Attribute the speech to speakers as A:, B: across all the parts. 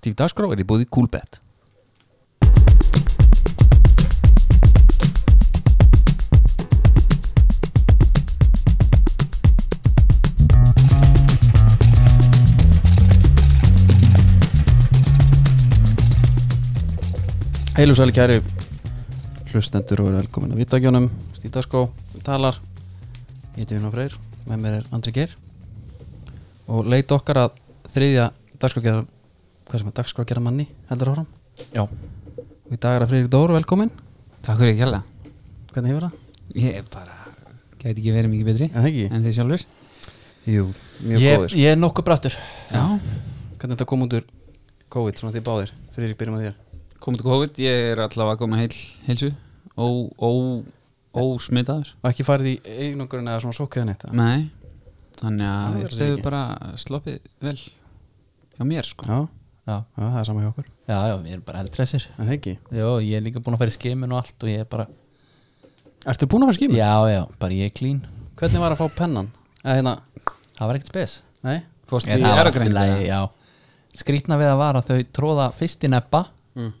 A: stíf dagskrá er í búði Coolbet Heil og sæli kæri hlustendur og eru velkomin að vittakjónum Stíf dagskrá, við talar Ég heiti Vinna Freyr, með mér er Andri Geir og leit okkar að þriðja dagskrákjara hvað sem er dagskrákjara manni heldur áfram
B: Já,
A: og í dag er að Friðrik Dór, velkomin
B: takk fyrir ekki hérlega
A: hvernig hefur það?
B: Ég er bara, gæti ekki verið mikið betri
A: það ekki?
B: en þið sjálfur
A: Jú, mjög
C: ég,
A: góður
C: ég er nokkuð brattur
B: Já,
A: hvernig þetta kom út úr COVID, svona því báðir Friðrik, byrjum að þér
B: komið til COVID, ég er allavega að koma heil, heilsu Ó, ó, ó smitaður
A: og ekki farið í einungurinn eða svona sókjöðan eitt
B: Nei, þannig
A: Það er
B: að þeir
A: ekki.
B: hefur bara sloppið vel hjá mér sko
A: já,
C: Já,
A: já, það er sama hjá okkur
C: já, já, ég er bara eldressir
A: en það ekki
C: Jó, ég er líka búin að fara í skimun og allt og ég er bara
A: Ertu búin að fara skýmur?
C: Já, já, bara ég er clean
A: Hvernig var að fá pennan? Eða hérna,
C: Það var ekkert spes
A: nei?
B: Fórstu
C: En
B: í
C: það var allt í
B: erðagreiningu,
C: lagi,
B: eða?
C: já. Skrýtna við að vara að þau tróða fyrst í nebba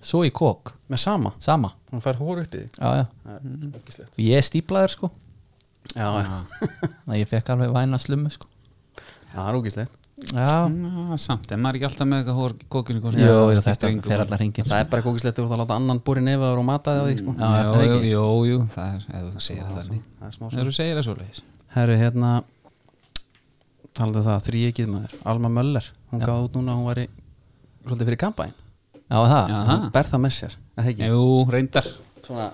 C: Svo í kók,
A: Með sama?
C: sama
A: Hún fær hór upp í því?
C: Já, já,
A: Mm.
C: ég er stíplaður sko
A: Já, já,
C: Þannig að ég fekk alveg væna slummu sko
A: það er ógíslegt
C: Já,
B: Já, Samt, en maður er ekki alltaf með eitthvað hór kókinu
C: jú, jú, þetta fer allar hringin
A: Það er bara kókislegt að þú ert að láta annan búri nefaður og mata það á því sko.
B: Já,
C: Já,
B: jú, jú, jú, það er, ef þú segir það þannig
A: Það er smá
B: Ef þú segir það svoleiðis
A: Herru, hérna talaðu það, þríekið maður Alma Möller, hún ja. gáði út núna að hún væri svolítið fyrir kampæn
C: Já, það, já,
B: Já, það
A: hún ber það með sér, eða ekki
B: Jú, reyndar
A: svona,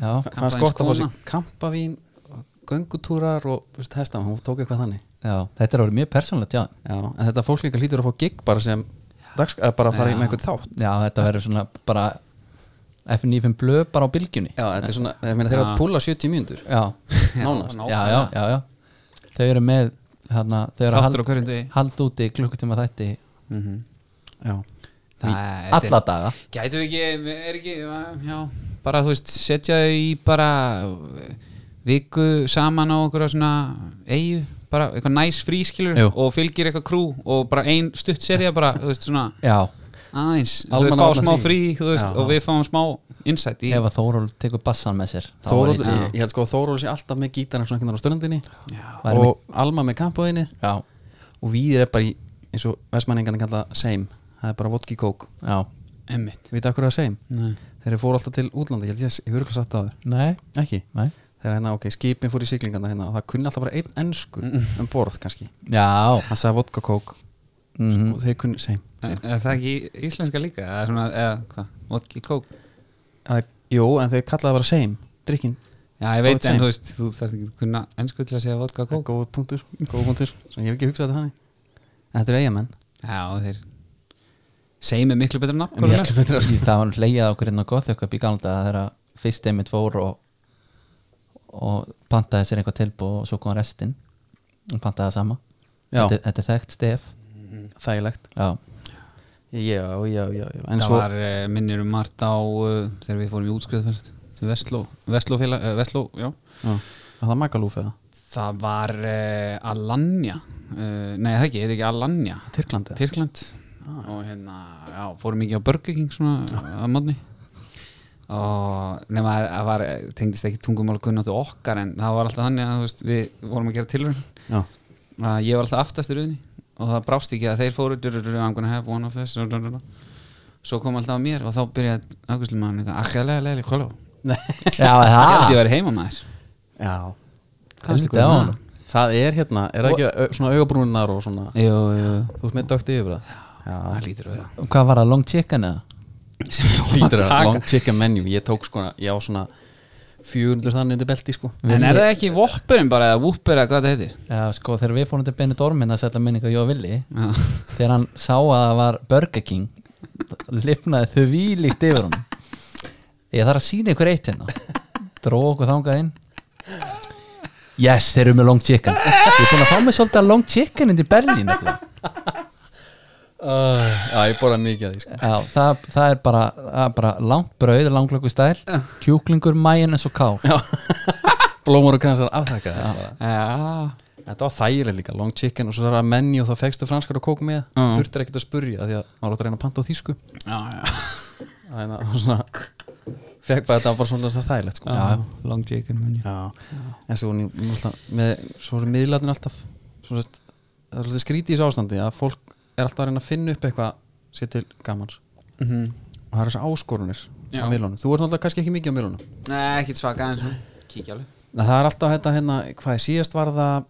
C: já,
A: fannst gott að fá
B: kampavíns
A: sér kampavín og göngutúrar og þú veist, hestam, hún tók eitthvað þannig
C: Þetta er orðið mjög persónlegt, já
A: Já, en þetta fólk líka hlýtur að fá gig bara sem dagsk, eða bara að fara í með einhvern þátt
C: Já, þetta verður svona bara F95 blöð bara á bylgjunni
A: Já, þetta er svona, ég meina þeir eru að púla 70 mínútur
C: Já,
A: nánast,
B: Ná-
C: já, já, já, já. Þau eru með hana, Þau eru að
B: Þáttur á hverjum degi.
C: halda úti klukkutíma þætti
B: Mhm.
A: já,
B: Það- þetta er-
C: Alla daga
B: Gætu ekki, er ekki, já, bara þú veist, setja þau í bara viku saman á okkur svona eigu, bara eitthvað næs frískilur
A: Jú.
B: og fylgir eitthvað krú og bara ein stutt serja bara, þú veist, svona
C: Já,
B: aðeins,
A: Almanna
B: þau fá
A: alla
B: smá
A: frí.
B: frí, þú veist,
A: Já.
B: og við fáum smá insight í,
C: ef að Þóról tekur bassan með sér þá
A: Þóról,
C: væri-
A: ég, ég held sko að Þóról sé alltaf með gítarna svona einhvern veginn á ströndinni
B: já,
C: Væri
A: og Alma með kampavíni
C: Já,
A: og við er bara í, eins og vestmanningarnir kalla same, það er bara vodki kók
C: já
B: emmitt
A: við það hverju það same,
B: Nei.
A: þeir eru fór alltaf til útlanda ég held ég, ég hefur ekki sagt það áður.
C: Nei,
A: ekki,
C: nei
A: þeir er hérna, ok, skipin fór í siglingarna hérna og það kunni alltaf bara einn ennsku um borð kannski,
C: Já,
A: hann sagði vodka kók
C: mhm.
B: Sko,
A: og þeir kunni same
B: Er, er það ekki íslenska líka, eða svona, eða hvað, vodki kók
A: það, jú, en þeir kallaði bara same, drikkin
B: Já, ég
A: Þú
B: veit,
A: ert
B: en
A: sein.
B: þú veist, þú þarf ekki að kunna ennsku til að segja vodka
A: góð
B: kók
A: punktur, góð punktur svo ég hef ekki hugsað þetta þannig en þetta er eigamenn
B: Já, þeir segjum er miklu betra nafn
A: Miklu
B: hvað
A: betra, sko.
C: Það var leiðið okkur hérna inn á Gothjökup í galda það er að fyrst einmitt fór og, og pantaði sér eitthvað tilbúð og svo kom restin og pantaði það sama
A: Já.
C: þetta, þetta er þekkt stef
A: þægilegt
C: Já,
A: já, já, já, já. en
B: Það
A: svo
B: var uh, minnir um margt á uh, þegar við fórum í útskrifðferð til Vestló, Vestló, félag, uh, Vestló já.
A: já, var það makalúf eða
B: það var uh, Alanya uh, nei það ekki, þetta ekki Alanya
A: Tyrkland eða?
B: Tyrkland
A: Ah.
B: og hérna, já, fórum ekki á Burger King svona að mótni og nema að það var eh, tengdist ekki tungumál kunnáttu okkar en það var alltaf þannig að þú veist, við vorum að gera tilraun
A: já,
B: að ég var alltaf aftast í rauðinni og það brást ekki að þeir fóru durururu, I'm gonna have one of this durururu. svo kom alltaf að mér og þá byrjaði afgjörslu maður eitthvað akkiðlega leili kólu
C: Já,
B: það
C: það
A: Ah.
B: held ég að vera heima maður
A: já.
B: Fannst ykkur
C: Heldur á
B: það?
C: honum.
A: Það er hérna, er það ekki ö, svona augabrúnar og svona
B: jú, jú,
A: Þú ert með dögt yfir það
B: það lítur að vera
C: Og Hvað var það, long chicken eða?
B: sem ég var
A: Lítur
B: að
A: að
B: taka
A: long chicken menu Ég tók sko, ég á svona 400 þannig undir belti sko
B: en er það ekki Whopperinn bara eða Whooper eða hvað það heitir
C: Já, sko, þegar við fórum til Benidormin að setja minninga Jó Vili
B: já,
C: Þegar hann sá að það var Burger King Lifnaði þau vílíkt yfir hún Ég þarf að sína ykkur eitt hérna Dróð okkur þangað inn Yes, þeir eru með long chicken Ég er búin að fá mig svolítið að long chicken inn í Berlín nefnilega.
A: Já, ég borða mikið að því sko
C: Já, það, það er bara, það er bara langt brauð, langlöku stær Kjúklingur, majónes og kál
A: Blómur og kransar aftakað
B: já
A: Þetta var þægileg líka, long chicken og svo það er að menni og það fegstu franskar og kók með
B: Já.
A: Þurftir ekkert að spurja því að maður átt að reyna að panta á þýsku
B: já, já.
A: Þannig að það var svona Fekk bara þetta var bara svona þægilegt sko
B: long chicken menu
A: Já, en svo, hún- hún alltaf, með, svo eru miðlarnir alltaf svo sett, það er svolítið skrítið í þessu ástandi að fólk er alltaf að reyna að finna upp eitthvað sér til gamans
B: mm -hmm.
A: og það eru þessi áskorunir
B: Já.
A: á miðlunum þú ert náttúrulega kannski ekki mikið á miðlunum
B: Nei, ekkit svaka en svona kíkja alveg
A: Nei, það er alltaf þetta hérna hvað er síðast var það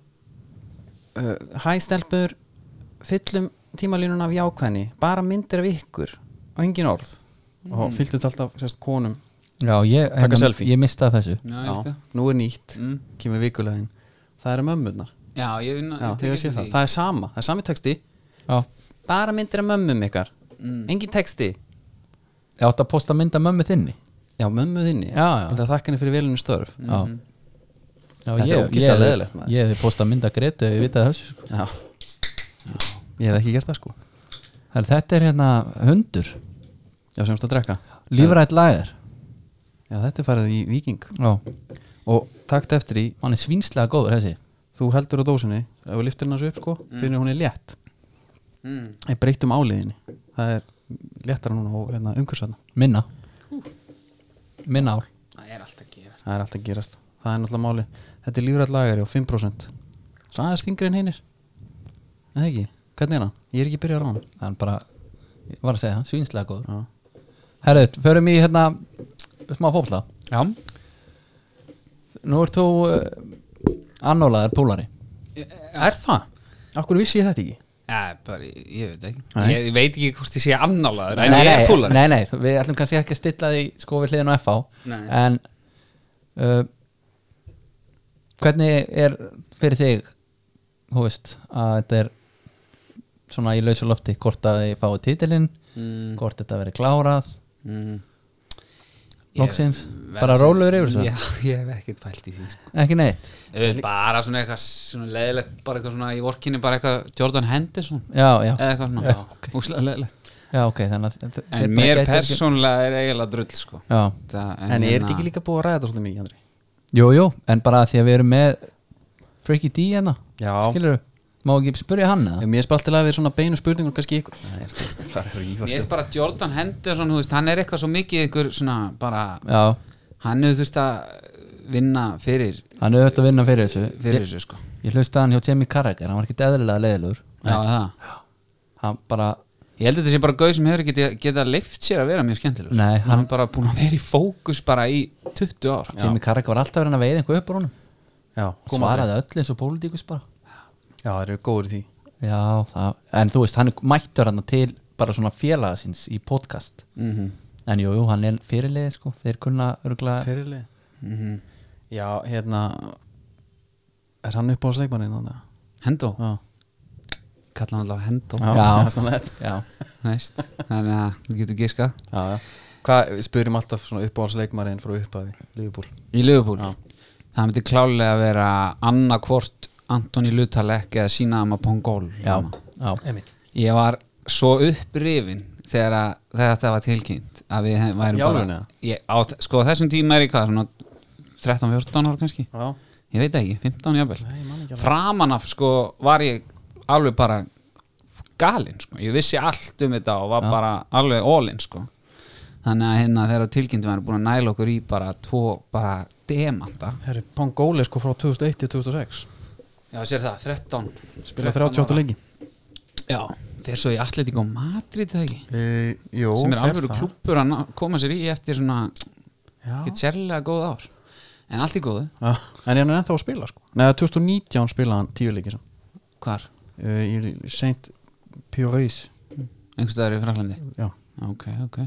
A: uh, hæstelpur fyllum tímalínuna af jákvæðni bara myndir af ykkur og engin orð og
B: Mhm.
A: fylltist alltaf sérst konum
C: Já, ég, hérna,
A: Taka selfie.
C: ég mista þessu
B: Já, ég
A: Já,
B: líka.
A: nú er nýtt,
B: Mm.
A: kemur vikulegin það eru mömmunar
B: já, ég, ég,
A: Já,
B: ég
A: þegar ég sé það, það er sama, það er sami texti
C: Já,
A: bara myndir af mömmum ykkar engin texti,
C: ég átti að posta mynda mömmu þinni
A: já Mm. mömmu þinni
C: Já, já.
A: Viltu að þakka henni fyrir velinu störf
C: Já, já
A: Mhm. Þetta er
C: ég,
A: ógeðslega
C: ég-
A: leiðilegt, maður.
C: Ég hefði postað mynda Gretu ef ég vitað þessu sko.
A: já. ég hef ekki gert það sko
C: Her, Þetta er hérna hundur
A: já semst að drekka,
C: Lífrætt lager
A: já þetta er farið í viking
C: Já,
A: og takt eftir í,
C: hann er svínslega góður þessi
A: þú heldur á dósinni ef við liftir hennar svo upp sko, finnir hún er létt
B: Mm.
A: ég breytum áliðinni það er léttara núna og hérna, umhversvæðna
C: Minna Minna ál
B: Það er alltaf gerast
A: það er alltaf að gerast, það er náttúrulega máli þetta er lífrætt lagari á 5% svo aðeins þingri en hinnir eða ekki, hvernig er hann? ég er ekki byrjað á hann
C: Hann bara, ég var að segja það, svínslega góður
A: Já.
C: Herrið, förum í hérna smá fótla
B: Já,
C: Nú ert þú uh, annólaðar púlari
A: Er það? Akkur vissi ég þetta ekki?
B: ég, bara, ég, ég veit ekki
A: Nei.
B: ég, ég veit ekki hvort ég sé annálaður En ég er púlar
C: nei, nei, þú- við ætlum kannski ekki að stilla því sko við hliðin á FH
B: Nei.
C: en uh, hvernig er fyrir þig þú veist að þetta er svona í lausu lofti hvort að þið fáið titilinn
B: mm,
C: hvort þetta verið klárað
B: mm. Ég
C: loksins,
B: verð
C: bara
B: að segja-
C: róluður yfir
B: Já,
C: þessu,
B: ég hef ekkert pælt í því sko.
C: ekki neitt
B: Eh, Bara svona eitthvað svona leðilegt Bara eitthvað svona í vorkinni Bara eitthvað Jordan Henderson
C: já, já,
B: Eða eitthvað svona
C: Já,
B: okay. Úslega leðilegt
C: já, ok þannig að þe- þeir
B: Eh, En
C: bara
B: mér
C: gætu ekki-
B: persónlega er eiginlega drull sko. hérna,
C: já,
B: það,
A: En, hérna- er þetta ekki líka búið að ræða þetta svolítið mikið, Andri?
C: jú, jú, en bara að því að við erum með Freaky D hérna
A: Já
C: skilur má ekki spyrja hann eða?
A: Ég mér spalt til að við svona beinu spurningur kannski ykkur Nei, er þetta- það er
B: Mér
A: rífast
B: finnst bara Jordan Henderson, þú veist, hann er eitthvað svo mikið ykkur svona bara,
C: já,
B: hann hefur þurft að vinna fyrir,
C: hann er auðvitað að vinna fyrir þessu
B: fyrir þessu sko.
C: Ég hlusta hann hjá Jamie Carragher, hann var ekkert eðlilega leiðilegur
B: Já, það.
C: Hann bara,
B: Ég held að þetta sé bara gauð sem hefur ekki getað leift sér að vera mjög skemmtilegur.
C: Nei,
B: hann, er bara búin að vera í fókus bara í 20 ár.
C: Jamie Carragher var alltaf verið að veiða einhver upp úr honum
A: Já, koma aldrei.
C: Svaraði öllu eins og pólitíkus bara
A: Já, það eru góður í því
C: Já, það, en þú veist, hann er mættur hann til bara svona félaga síns í podcast
B: Mm -hmm.
C: En jú, jú, hann er fyrirlega sko, þeir kunna örgulega
A: Fyrirli Mhm. Já, hérna Er hann upp á sleikmannin þannig?
B: Hendo,
A: Já,
B: kalla hann allavega Hendo.
A: já,
C: Já.
A: það er svona þetta.
C: Já,
B: Næst, þannig að þú getur giskað.
A: já, já. Hvað, við spurum alltaf svona upp á sleikmannin frá upphafi Lífubúl
B: Í Liverpool. Það myndi klálega að vera annarkvort Antoni Lutalek eða Sinaðama Pongol.
C: já, já,
A: Emil
B: Ég var svo upprifin þegar, að, þegar þetta var tilkynnt að við hef- værum
A: Í alvörunni, eða?
B: bara ég, á, þ- sko á þessum tíma er ég hvað svona 13-14 ára kannski
A: Já,
B: ég veit ekki, 15
A: Nei, ég man ekki
B: jafnvel
A: alveg.
B: framan af sko var ég alveg bara galinn sko, ég vissi allt um þetta og var bara alveg ólinn sko þannig að hérna þegar tilkynntum við erum búin að næla okkur í bara tvo bara demanda
A: herri, Pongóli sko frá 2001 til 2006
B: já sér það, 13
A: Spila 38
B: 13 ára.
A: lengi
B: já, þeir svo í Atletico Madrid eða ekki
A: e, Jó,
B: sem er
A: fer
B: alveg
A: það.
B: klúppur að ná- koma sér í eftir svona
A: Já.
B: ekkert sérlega góð ár en allt í góðu,
A: Já, Ah. en hann er ennþá að spila sko Nei, 2019 spilaði hann tíu leikir samt.
B: hvar?
A: uh, í Saint Pjóreis
B: einhvers staðar í Fraklandi
A: já,
B: ok, ok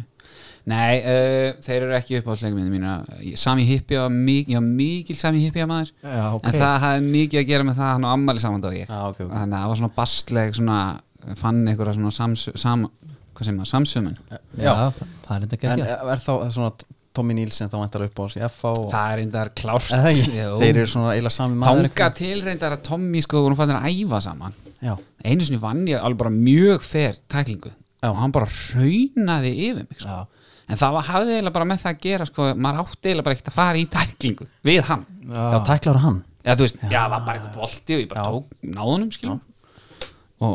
B: nei, uh, þeir eru ekki upp á sleguminn mínu Sami Hippi var mikil, já, mikil Sami Hippi maður
C: já, ok
B: en það hafði mikið að gera með það hann á ammali saman dag ég
A: Já, Ah, ok, ok.
B: þannig að það var svona bastleg svona, fann einhverja svona sams, sam, hvað segir maður, samsumun
A: Eh,
C: Já, það er enda ekki
A: en
C: ekki
A: er þá er svona Tommy Nielsen þá vantar upp á hans í FA og...
B: það er eindar klárt
A: Er það ekki?
B: Jú.
A: þeir eru svona eila sami maður
B: þanga tilreindar að Tommy sko voru fannir að æfa saman
A: já,
B: einu sinni vann ég alveg bara mjög fer tæklingu og hann bara raunaði yfir mig sko. en það var, hafði eiginlega bara með það að gera sko, maður átti eiginlega bara ekkert að fara í tæklingu við hann
A: já tæklar hann
B: Já, þú veist, já, það var bara eitthvað bolti og ég bara tók náðunum, skilum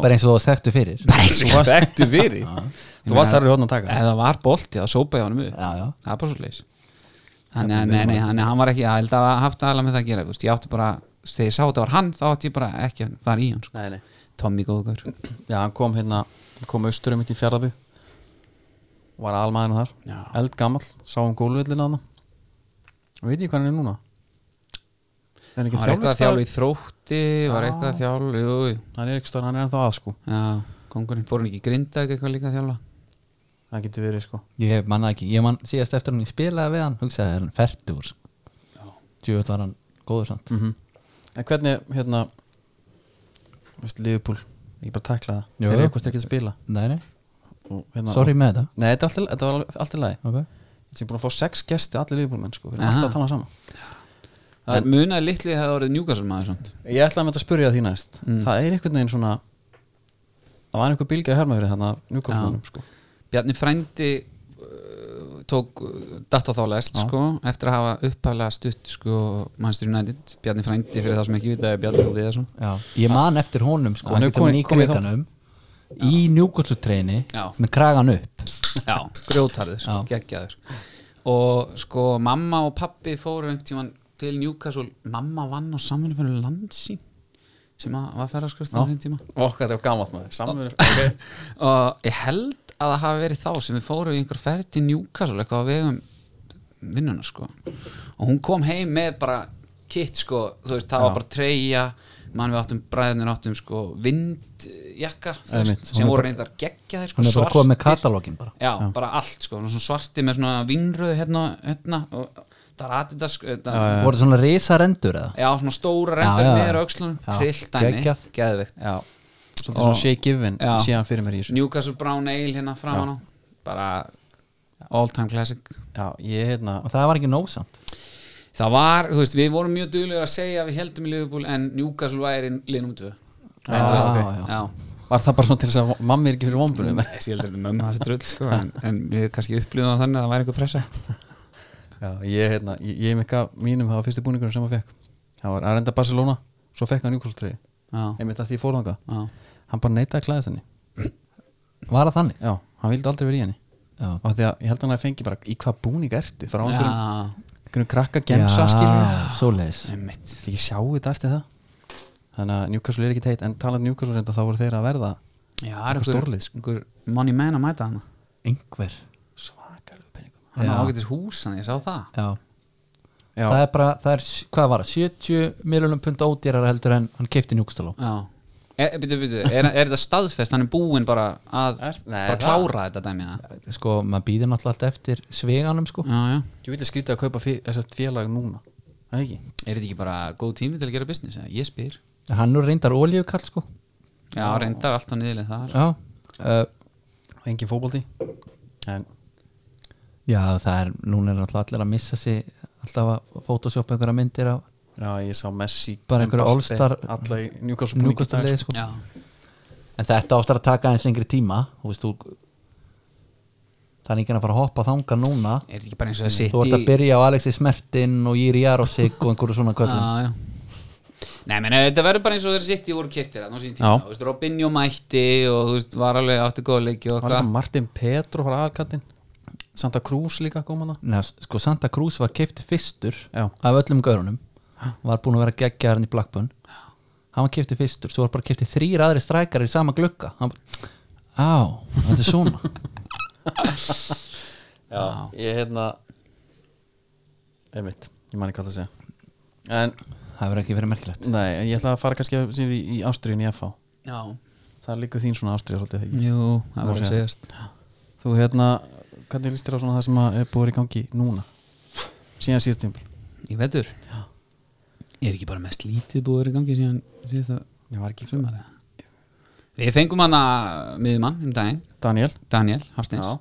C: bara eins og þú þekktu fyrir já,
B: Bara eins og það eftir fyrir Eh.
A: Þú varst þar í hóðan að taka
B: Ef það var bolti, þá sópa ég honum upp
C: já,
B: Það er bara svo leis Þannig að, nei, nei, hann, hann var ekki, ég held að hafa haft aðalega með það að gera, þú veist, ég átti bara þegar ég sá þetta var hann, þá átti ég bara ekki að fara í hann, sko.
A: Nei, nei
B: Tommy Góðgaur
A: Já, hann kom hérna, hann kom austurum mitt í fjárðabí Var almaðinu þar
B: Já.
A: Eld gamall, sá um gólvillina hana Og veit ég hvað hann er núna Er hann ekki
B: Hann var eitthvað að
A: þjálfleikstæður?
B: þjálfa í þrótti, var eitthvað að þjálfa, jú, jú
A: Hann er ekki stöðar, hann er ennþá að sko
B: Já, kongurinn fór hann ekki í grindag eitthvað líka að þjálfa
A: Það getur verið sko
C: ég manna ekki, ég mann síðast eftir hann ég spilaði við hann, hugsaði er hann færtur djúið var hann góður samt
A: mm En hvernig, hérna Veist, Liverpool Ég bara tekla
C: Jú.
A: það Er eitthvað ekki að spila
C: nei, nei,
A: Og, hérna,
C: sorry með þetta
A: Nei, þetta, er allt í- þetta var alveg- allt í lagi
C: okay.
A: Ég er búin að fá sex gesti, allir Liverpool-menn sko Við erum
B: Aha.
A: alltaf að tala saman
B: Það er munaði litli hefði orðið Newcastle maður samt
A: Ég ætlaði að mynda að spyrja því næst Það er einhvern veginn svona Það var einhver bylgja hermaður þannig að njúkofnum sko.
B: Bjarni Frændi uh, tók dataþálegst sko, eftir að hafa upphæðlega stutt sko, Manchester United Bjarni Frændi fyrir það sem ekki vita er Bjarni Liðarsson
C: Já, ég man eftir honum sko,
A: Hann
C: hann
A: er
C: er komin í
A: kominn- kominn í
C: kriganum í njúkvöldutreini
B: Já.
C: með kragan upp
B: Já, grjótarðið, sko, geggjaður og sko mamma og pappi fóru einhvern tímann til Newcastle mamma vann á samvinni fyrir landsín sem að var ferðarskrist á þeim tíma
A: Okkar er gammalt maður Samverður okay.
B: og ég held að það hafi verið þá sem við fórum í einhver ferð til Newcastle eitthvað á vegum vinnuna sko og hún kom heim með bara kitt sko, þú veist, það var bara treyja mann við áttum bræðinir áttum sko vindjakka, þú veist,
A: Einmitt.
B: sem voru reyndar geggja þeir sko
C: hann er bara komið með katalógin bara
B: já, bara allt sko, svona svarti með svona vinröðu hérna, hérna og það er aðeins þetta, já,
A: Eh.
C: voru svona risarendur eða
B: svona stóra reyndar
C: Já, já, já.
B: meður aukslunum,
C: Já.
B: trillt dæmi
C: Geggjað.
B: geðveikt
A: Já Svolítið svona shake given
B: Já.
A: síðan fyrir mér í þessu
B: Newcastle Brown Ale hérna framan á bara all time classic
A: Já, ég hérna
C: og það var ekki nóg samt
B: það var, þú veist, við vorum mjög duglegur að segja að við heldum í Liverpool en Newcastle væri liðnum 2
C: Já, já, já.
B: já.
A: Var það bara svona til þess að mammi er ekki fyrir vombunum
B: Ég heldur þetta mömmu þessi drull sko, en, en við kannski upplýðum þannig að það væri einhver pressa
A: Já, ég hérna Ég, ég mekka mínum hafa fyrsti búningur sem að fekk Það var Arenda Barcelona Svo fekk hann njúkofnum
B: já,
A: Einmitt að því fórðanga
B: já.
A: Hann bara neitaði að klæðast henni
C: var það þannig
A: Já, hann vildi aldrei verið í henni
C: já.
A: Og því að ég held að hann að fengi bara Í hvað búning ertu? Frá einhverjum,
B: já.
A: einhverjum krakka gemsa skilur
C: svoleiðis
B: einmitt.
A: Ég ekki sjá þetta eftir það Þannig að Newcastle er ekki teitt En talað um Newcastle reynda þá voru þeir að verða
B: já, er
A: Einhver
B: einhver,
A: stórlið, sko.
B: einhver money man að mæta hana
C: einhver
A: Svakalegu penningum
B: hann
C: Já.
B: á ágætis hús, hann ég sá það
C: já.
A: Já,
C: það er bara, það er, hvað var það 70 miljonum pund ódýrar heldur en hann keipti njúkstaló
B: já Er, byrju, byrju, er, er þetta staðfest, hann er búinn bara að
A: Er- nei,
B: bara
A: það-
B: klára þetta dæmi eða?
C: sko, maður býðir náttúrulega alltaf eftir sveganum sko
B: já, já.
A: ég vilja skrítið að kaupa þessart félag núna Það er ekki
B: Er þetta ekki bara góð tími til að gera business? Eða? Ég spyr.
C: hann nú reyndar olíukall sko
B: Já, reyndar alltaf niðurlega þar.
C: já, uh,
A: Og Engin fótbolti En
C: já það er, núna er náttúrulega allir að missa sig alltaf að photoshopa einhverja myndir af
A: já, ég sá Messi
C: Bara einhverja
A: Mbappe,
C: all-star-
A: Alla í Newcastle búning í dag,
C: njúkastalegi sko
B: Já.
C: en þetta áttar að taka aðeins lengri tíma þú veist, þú það er ekki að fara að hoppa þanga núna
B: Er þetta ekki bara eins og að
C: þú ert
B: sitja
C: að byrja á Alexi Smertin og Jiri Jarosik og einhverju svona köllum
B: Já, já. Nei, menn, þetta verður bara eins og þeir sitja voru kiptir þarna á sín tíma.
A: Já.
B: Þú veist, Robinjó mætti og þú veist, var alveg átti góða leiki og
A: sko. Var
B: eitthvað.
A: líka Martin Petro var aðkattin Santa Cruz líka kom hana
C: Nei, sko Santa Cruz var keift fyrstur
A: Já.
C: af öllum gaurunum var búin að vera geggjaðarinn í Blackburn hann var keiftið fyrstur, svo var bara keiftið þrýr aðri strækari í sama glugga hann bara, á, þetta er svona
A: Já, ég hérna Einmitt, ég man ekki hvað það segja En,
C: það verður ekki verið merkilegt
A: nei, en ég ætla að fara kannski sem í, í Ástriðin í FH
B: Já.
A: Það líkur þín svona Ástriða svolítið ekki
B: Jú, það
A: Má
B: var að
A: segja.
B: segjast.
A: Þú hérna, hvernig líst þér á svona það sem að er búið að vera í gangi núna? Síðan síðast tímpil
B: Í vetur. Já. Ég er ekki bara mest lítið búið að vera í gangi síðan síðast að
A: Ég var ekki
B: sumar eða. Við fengum hana miðumann um daginn,
A: Daniel
B: Daniel Hafsteins.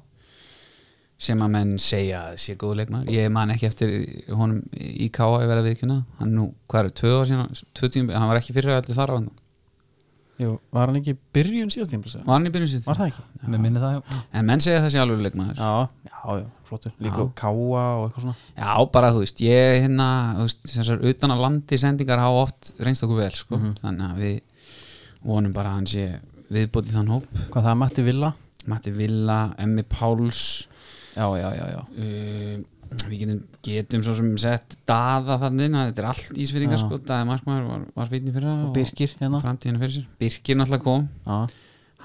B: sem að menn segja að sé góð leikmaður ég man ekki eftir honum í K.A. ég verða viðkjöna hann nú, hvað er, tvö ár síðan tvö tíma, hann var ekki fyrir allir þar á hann
A: Jú, var hann ekki í byrjun síðast tímplis
B: og hann í byrjun síð
A: Var það ekki?
C: með minni það já.
B: en menn segja þessi alveg leikmaður já.
A: Já, já, já, flottur Líka
B: Já.
A: káa og eitthvað svona
B: bara þú veist, ég hérna þú veist, þessar utan að landi sendingar hafa oft reynst okkur vel sko.
A: Mhm.
B: þannig að við vonum bara að hann sé viðbótið þann hóp
A: Hvað það, Matti Villa?
B: Matti Villa, Emmi Páls
A: Já, já, já, já
B: uh, við getum, getum svo sem sett daða þannig inn, að þetta er allt ísfyrringar
A: Já.
B: sko, daði markmaður var, var vitni fyrir það
A: Og Birkir hérna
B: framtíðina fyrir sér, Birkir náttúrulega kom
A: Já.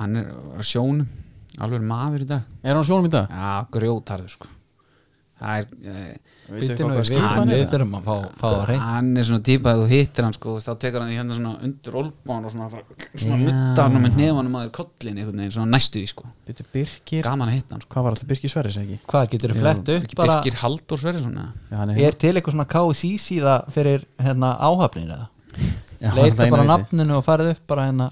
B: hann er, var á sjónum alveg maður í dag,
A: Er hann á sjónum í dag?
B: já, grjótarður sko það er eh,
C: Bíddu nú,
A: hvað
C: við,
A: skipan
C: við
A: er?
C: þurfum að fá, fá að
A: Ah.
C: reyna
B: hann er svona típa að þú hittir hann sko, þú veist, þá tekur hann því hérna svona undir olbán og svona, fra- svona
A: Já.
B: nuttar hann með nefanum aður kollin einhvern veginn, svona næstu í sko
A: Bíddu, Birkir
B: gaman að hitta hann sko,
A: Hvað var alltaf Birkir Sverris ekki?
C: hvað getur þið flett upp
B: ekki
C: bara,
B: Birkir Halldór Sverri svona
A: Já, hann er hérna.
C: er til eitthvað svona KC síða fyrir hérna áhafnir eða
A: Já, hann er
C: leita
A: það
C: bara
A: eina viti.
C: nafninu og farið upp bara hérna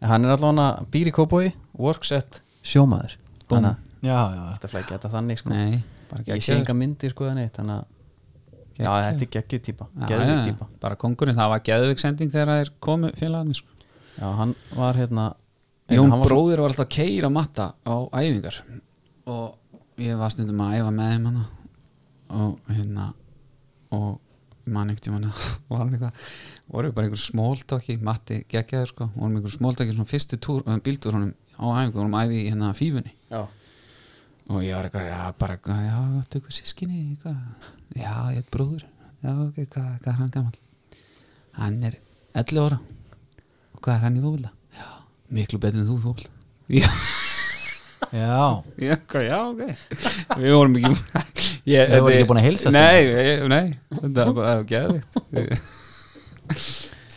A: Hann er allavega býr í kópói Workset sjómaður
B: Búmm.
A: Þannig að
C: já, já,
A: þetta flækja þetta þannig sko
B: nei, bara
A: Ég
B: ekki
A: sé enga myndir sko þannig Þannig að Já,
B: Geggjuð.
A: þetta er geggjuð típa
B: Já,
A: Geggjuð
B: já,
A: típa
B: bara kongurinn, það var geðvik sending þegar það er komið félagarnir sko.
A: Já, hann var hérna
B: Jón
A: hann var svo-
B: bróðir var alltaf að keira matta á æfingar og ég var stundum að æfa með þeim hana og hérna og mann ekkert tíma var hann eitthvað voru bara einhver smóltóki, Matti geggjaður sko vorum einhver smóltóki svona fyrstu túr, eh, bíltúr honum á æfingu, vorum að æfi í hérna fífunni
A: Já.
B: og ég var eitthvað, já, bara eitthvað, já, áttu eitthvað sískinni, eitthvað, já, ég er bróður, já, ok, hvað, hvað er hann gammal? Hann er 11 ára, og hvað er hann í fókvölda? Já, miklu betur en þú í fókvölda. Já,
C: já.
B: já, hvað, já, ok, við vorum ekki, ég,
C: Þau voru
B: þetta-
C: ekki búin að heilsast
B: Nei, ég, nei, þetta var bara geðvikt.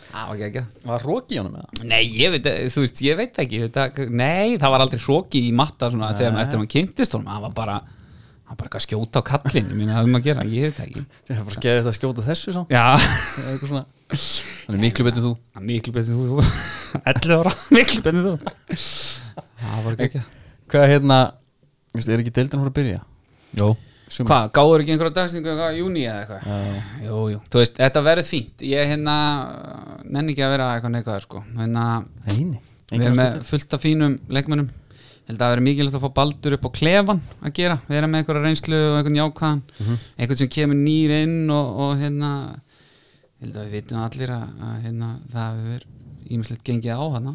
B: Það var geggja.
A: Var Roki í honum eða?
B: Nei, ég veit, eh, þú veist, ég veit ekki þetta, Nei, það var aldrei hróki í matta svona, þegar hann eftir hann kynntist honum hann var bara, hann var bara eitthvað að skjóta á kallin ég meina, það er um að gera, ég veit það ekki
A: Það er bara geðið þetta að skjóta þessu sá
B: Já,
A: Eitthvað svona Hann er miklu betur en þú
B: miklu betur þú 11 ára, miklu betur þú Það var ekki
A: Hvað hérna Vistu, er ekki deildin að fara að byrja?
C: Jó.
A: Sumar.
B: Hvað, gáður ekki einhverja dagsningu eitthvað í júni eða eitthvað? Jú, jú, þú veist, þetta verður fínt Ég hérna, nenni ekki að vera eitthvað neikvæður sko Hérna,
A: Nei, nei
B: Við erum með fullt af fínum leikmönnum Ég held að það verið mikilvægt að fá baldur upp á klefan að gera, vera með einhverja reynslu og einhvern jákvæðan, einhvern sem kemur nýr inn og, og hérna ég held að við vitum allir að, að hérna, það hefur ímislegt gengið á hana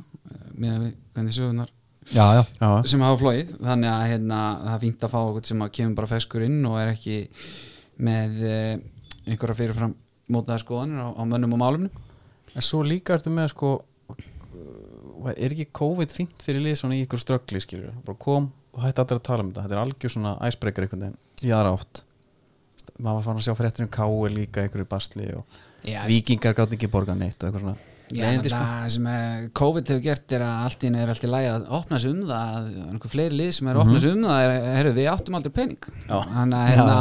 B: með við hvernig sögunar
C: já, já,
A: Já,
B: sem hafa flóið, þannig að hérna, það er fínt að fá einhvern sem að kemur bara feskur inn og er ekki með eh, einhverja fyrirfram mótaða skoðanir á, á mönnum og málumnum
A: en svo líka ertu með sko uh, Er ekki COVID fínt fyrir lið svona í ykkur ströggli skilur Bara kom og hætti allir að tala um þetta Þetta er algjör svona icebreaker einhvern veginn Í aðra átt Maður var fann að sjá fréttir um K.O. líka einhverju basli og
B: Já,
A: Víkingar gátt ekki borga neitt og eitthvað svona
B: Já,
A: Leiðindi,
B: Lendi, það sem eh, COVID hefur gert er að allt í einu er allt í lagi að opna sig um það að einhver fleiri lið sem er að opna sig um það er, er við áttum aldrei pening
A: Já.
B: þannig að hérna,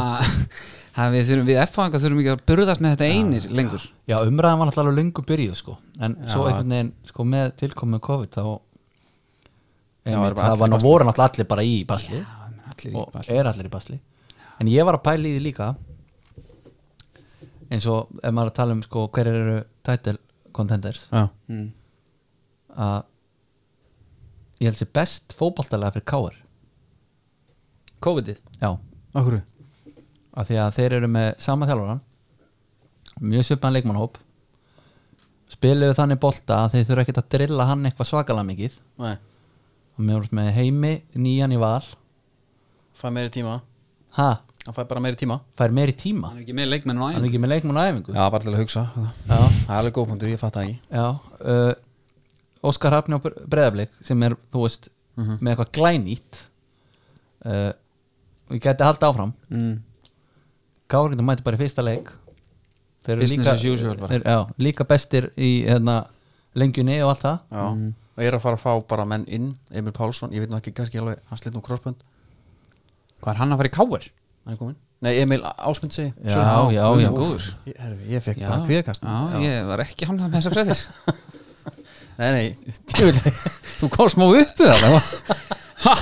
B: að við þurfum við F-fanga þurfum ekki að burðast með þetta einir lengur
C: já umræðan var náttúrulega lungu byrjuð sko. en svo
A: Já.
C: einhvern veginn sko, með tilkomið COVID þá
A: Já,
C: einmitt,
A: það var bara
C: það var
A: allir í
C: nú voru náttúrulega allir bara í basli
B: Já, allir í
C: og
B: ball
C: er allir í basli en ég var að pæla í því líka eins og ef maður er að tala um sko, hver eru title contenders
A: Já,
B: mm.
C: að ég held sér best fótballtalega fyrir KR
B: COVID-ið
C: já,
A: okkur
C: af því að þeir eru með sama þjálfaran mjög svipan leikmannhóp spiluðu þannig bolta að þeir þurfa ekkert að drilla hann eitthvað svakalega mikið
A: Nei,
C: og mér voru með heimi nýjan í val
A: fæ meiri tíma
C: ha,
A: Hann fæ bara meiri tíma
C: fær meiri tíma
B: hann er ekki með leikmenn og
C: hann er
B: æg
C: ekki með leikmann á æfingu
A: Já, bara til að hugsa
C: Já.
A: Það er alveg góð punktur, ég fatt það ekki
C: Já, uh, Óskar Hafni á breðablik sem er, þú veist, með eitthvað glænýtt uh, og ég geti haldið áfram
B: mm.
C: Kárindu mæti bara í fyrsta leik Þeir eru
B: Business as usual bara.
C: þeir, já, líka bestir í hérna, lengjunni og allt það
A: Já, Mm. og ég er að fara að fá bara menn inn Emil Pálsson, ég veit nú ekki kannski alveg hann slitt nú crossbund,
B: hvað er hann að fara í káir?
A: hann er komin Nei, Emil Ásmund segi
C: Já, já, já,
A: góður Ég, herri, ég fekk bara kvíðakast
B: já, ég var ekki hamlað með þessar fréttir
A: Nei, nei, djúvill Þú komst smá uppi það það var-
B: Ha,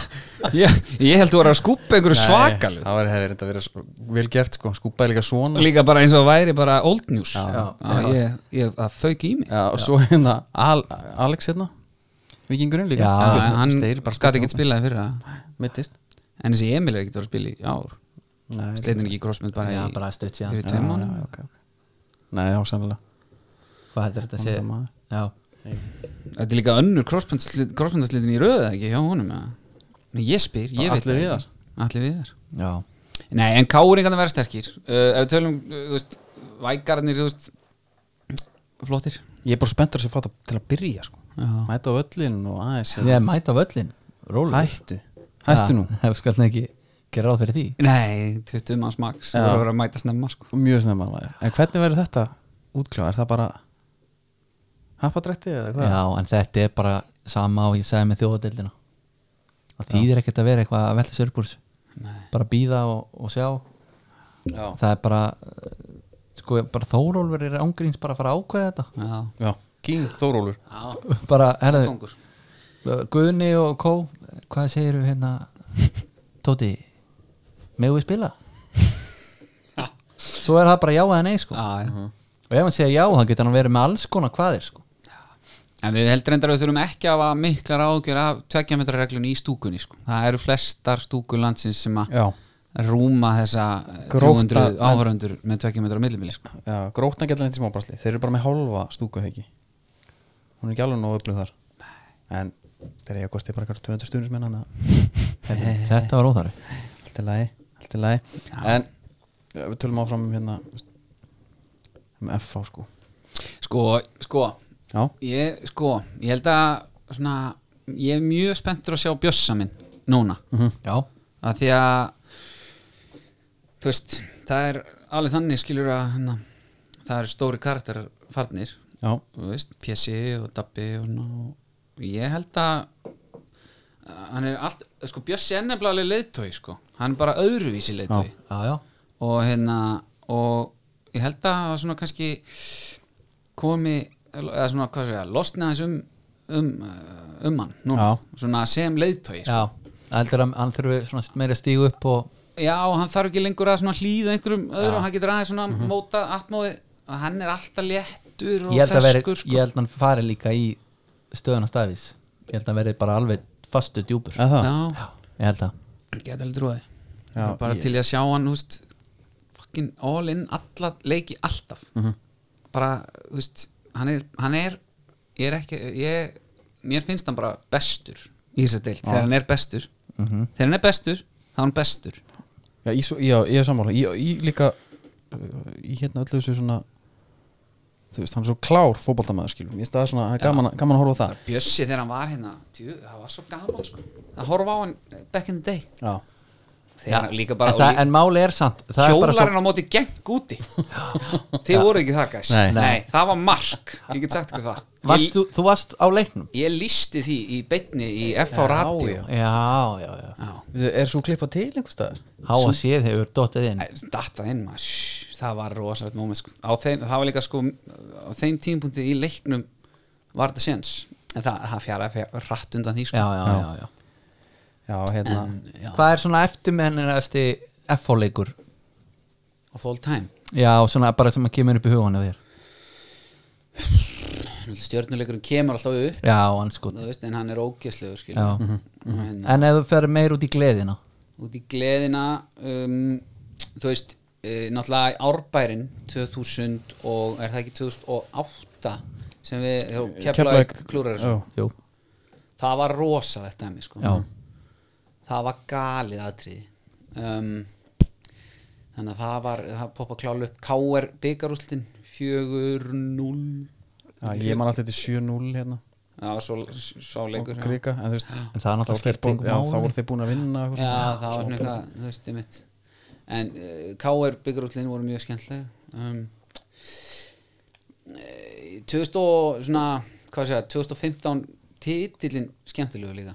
B: ég, ég held þú var að skúpa einhverju svakalu
A: Nei, Það var hefði reynda að vera s- vel gert sko, skúpaði líka svona
B: líka bara eins og væri bara old news
A: Já.
B: ég, ég, það fauk í mig
A: Já, og svo hérna Al, Alex hérna vikingurinn líka
C: Já,
B: Já, en hann
A: Steir bara
B: gæti ekkert spilaði fyrir það
A: mittist
B: En þessi Emil er ekkert að spila í ár Sleitin ekki í crossmynd bara
C: Já,
B: í
C: bara stutt síðan.
B: Fyrir tveim mánu
A: Nei, já, sannlega
C: Hvað heldur þetta að
A: Vonandi
C: segja?
A: maður.
C: Já,
B: Þetta er líka önnur crossmyndasleitin í röða ekki hjá honum eða? Nei, ég spyr, ég
A: Bara
B: veit
A: Atli
B: það
A: Viðar.
B: ekki. Atli viðar
C: já,
B: Nei, en Káur einhvern að vera sterkir uh, Ef við tölum, uh, þú veist, vækarnir, þú veist Flottir
A: Ég er bara spenntur að sé fata til að byrja sko.
B: Já.
A: Mæta á völlin og aðeins
C: ég er mæta á völlin Rólu
A: Hættu, hættu nú
C: Hef skal ekki gera ráð fyrir því
B: Nei, 20 manns max
A: Já.
B: Það voru að vera að mæta snemma, sko
A: Mjög snemma maður. En hvernig verður þetta útkláð? Er það bara happadrætti eða hvað?
C: Já, en þetta er bara sama og ég sagði með þjóðadeildina Það þýðir ekkert að vera eitthvað að velta sér upp úr þessu Bara býða og, og sjá
A: Já.
C: Það er bara eh, sko, bara Þórólfur er ángríns bara að fara að ákveða þetta
B: Já,
A: Já. King Þórólur
B: já,
C: Bara, herðu,
B: kongur
C: Guðni og Kó Hvað segir við hérna Tóti, megum við spila? Svo er það bara já eða nei sko
B: Já, já
C: Og ef hann segir já, þá getur hann verið með alls konar hvaðir sko
B: En við heldur endar að við þurfum ekki að hafa miklar ágjör af tveggjametrarreglunni í stúkunni sko. Það eru flestar stúkur landsins sem að
A: Já,
B: rúma þessa eh,
A: Grótta-
B: 300 áhörundur með tveggjametrar á millimili sko.
A: já grótna getur lengt í smábrasli Þeir eru bara með hálfa stúkuhauki Hún er ekki alveg nóg upplöð þar En þeir eru kostið bara eitthvað 200 stundismenn Þannig að
C: Þetta var óþarfi
A: allt er lægi, allt er lægi En ja, við tölum áfram um hérna um FH sko
B: sko, sko,
A: Já,
B: ég, sko, ég held að svona, ég er mjög spenntur að sjá bjössa minn núna
C: Já,
B: að því að þú veist, það er alveg þannig skilur að hana, það eru stóri karakterar farnir
A: já,
B: þú veist, PSI og Dabbi og svona og ég held að að hann er allt, sko Bjössi er nefnilega alveg leiðtói sko, hann er bara öðruvísi leiðtói
C: já, já
B: og hérna og ég held að það svona kannski komi eða svona, hvað segja, losna aðeins um um, uh, um hann núna, svona sem leiðtói sko.
C: Já, heldur að hann þurfi svona meira stígu upp og
B: já, hann þarf ekki lengur að svona hlýða einhverjum öðrum, hann getur aðeins svona mm -hmm. móta atmóði að hann er alltaf léttur og
C: Mhm. ég held að veri,
B: feskur sko.
C: ég held að hann fari líka í stöðuna stafis ég held að hann veri bara alveg fastu djúpur
A: eða það
B: já,
C: ég held að,
B: Geta alveg trúið
A: Já,
B: Bara
A: ég-
B: til ég að sjá hann húst, fucking all in, alla leiki alltaf
C: Mhm.
B: Bara, þú veist hann er, hann er ég er ekki, ég, mér finnst hann bara bestur í þess að deilt, þegar hann er bestur
C: Mhm.
B: þegar hann er bestur, þá er hann bestur
A: Já, í, svo- já ég er sammála Ég, ég líka uh, í hérna öllu þessu svona þú veist, hann er svo klár fótboltamaður skilur Mér finnst það svona, það er gaman, að- gaman að horfa á það
B: Bjössi þegar hann var hérna, tjú, það var svo gaman sko. að horfa á hann back in the day
A: Já,
B: þegar hann líka bara
C: en, það, en máli er sant það er bara svo,
B: hjólarinn á móti geng úti þið voru ekki það gæs
A: Nei.
B: það var mark, ég get sagt ykkur það
C: varst, þú, þú varst á leiknum
B: Ég lísti því í beinni í FH Radio
A: já.
C: já, já, já,
A: er svo klippa til einhver staðar?
C: háa séð hefur dottið inn
B: Datta inn maður, shhh, það var rosalegt moment sko. á þeim, það var líka sko á þeim tímpunkti í leiknum var þetta séns, en það, það fjara rætt undan því
C: já,
B: sko
C: já, já, já.
A: Já, hérna
C: hvað er svona eftirmennirasti FH-leikur
B: og full time,
C: já, svona bara sem að kemur upp í hugan af þér
B: stjörnuleikurinn kemur alltaf upp,
C: já, anskot
B: þú veist, en hann er ógæslegur skil
C: Já.
B: og hérna
C: en ef þú fer meir út í gleðina
B: út í gleðina um, þú veist uh, náttúrulega árbærin 2000 og er það ekki 2008 sem við keflaug klúrar þessu
A: Eh, Já,
C: jú,
B: það var rosalegt dæmi sko.
C: Já.
B: það var galið aðtriði um, þannig að það var það poppa klálu upp K.R. byggarústin 4-0
A: Já, ég man alltaf til 7-0 hérna
B: já, svo, svo
A: og
B: leikur já.
A: Grika, en þú veist
C: En það er
A: þá
C: náttúrulega
A: voru þeir
C: skipti
A: búin-
C: engu
A: Já,
C: máli.
A: þá voru þeir búin að vinna eitthvað svona.
B: Já, það var svona eitthvað, þú veist, ég mitt En uh, K.R. byggarúslinn voru mjög skemmtilega um, eh, 2000 og svona, hvað segja, 2015 titillin skemmtilegu líka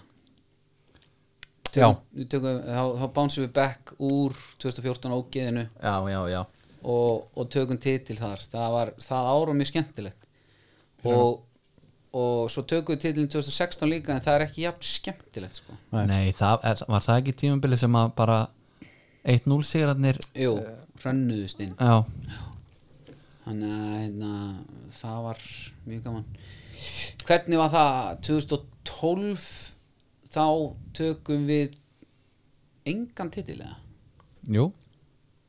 C: Já.
B: Tökum- við tökum, þá, þá bánsum við back úr 2014 ógeðinu
C: já, já, já
B: og, og tökum titil þar það var það ára mjög skemmtilegt og, og svo tökum við titilin 2016 líka en það er ekki jafn skemmtilegt sko.
A: Nei.
C: Nei, það, eh, var það ekki tímabili sem að bara 1-0 sigrarnir
B: Jú, hrönnuðust inn
C: Já,
B: Þannig að hérna, það var mjög gaman Hvernig var það 2000 og- 12 þá tökum við engan titil eða
C: Jú,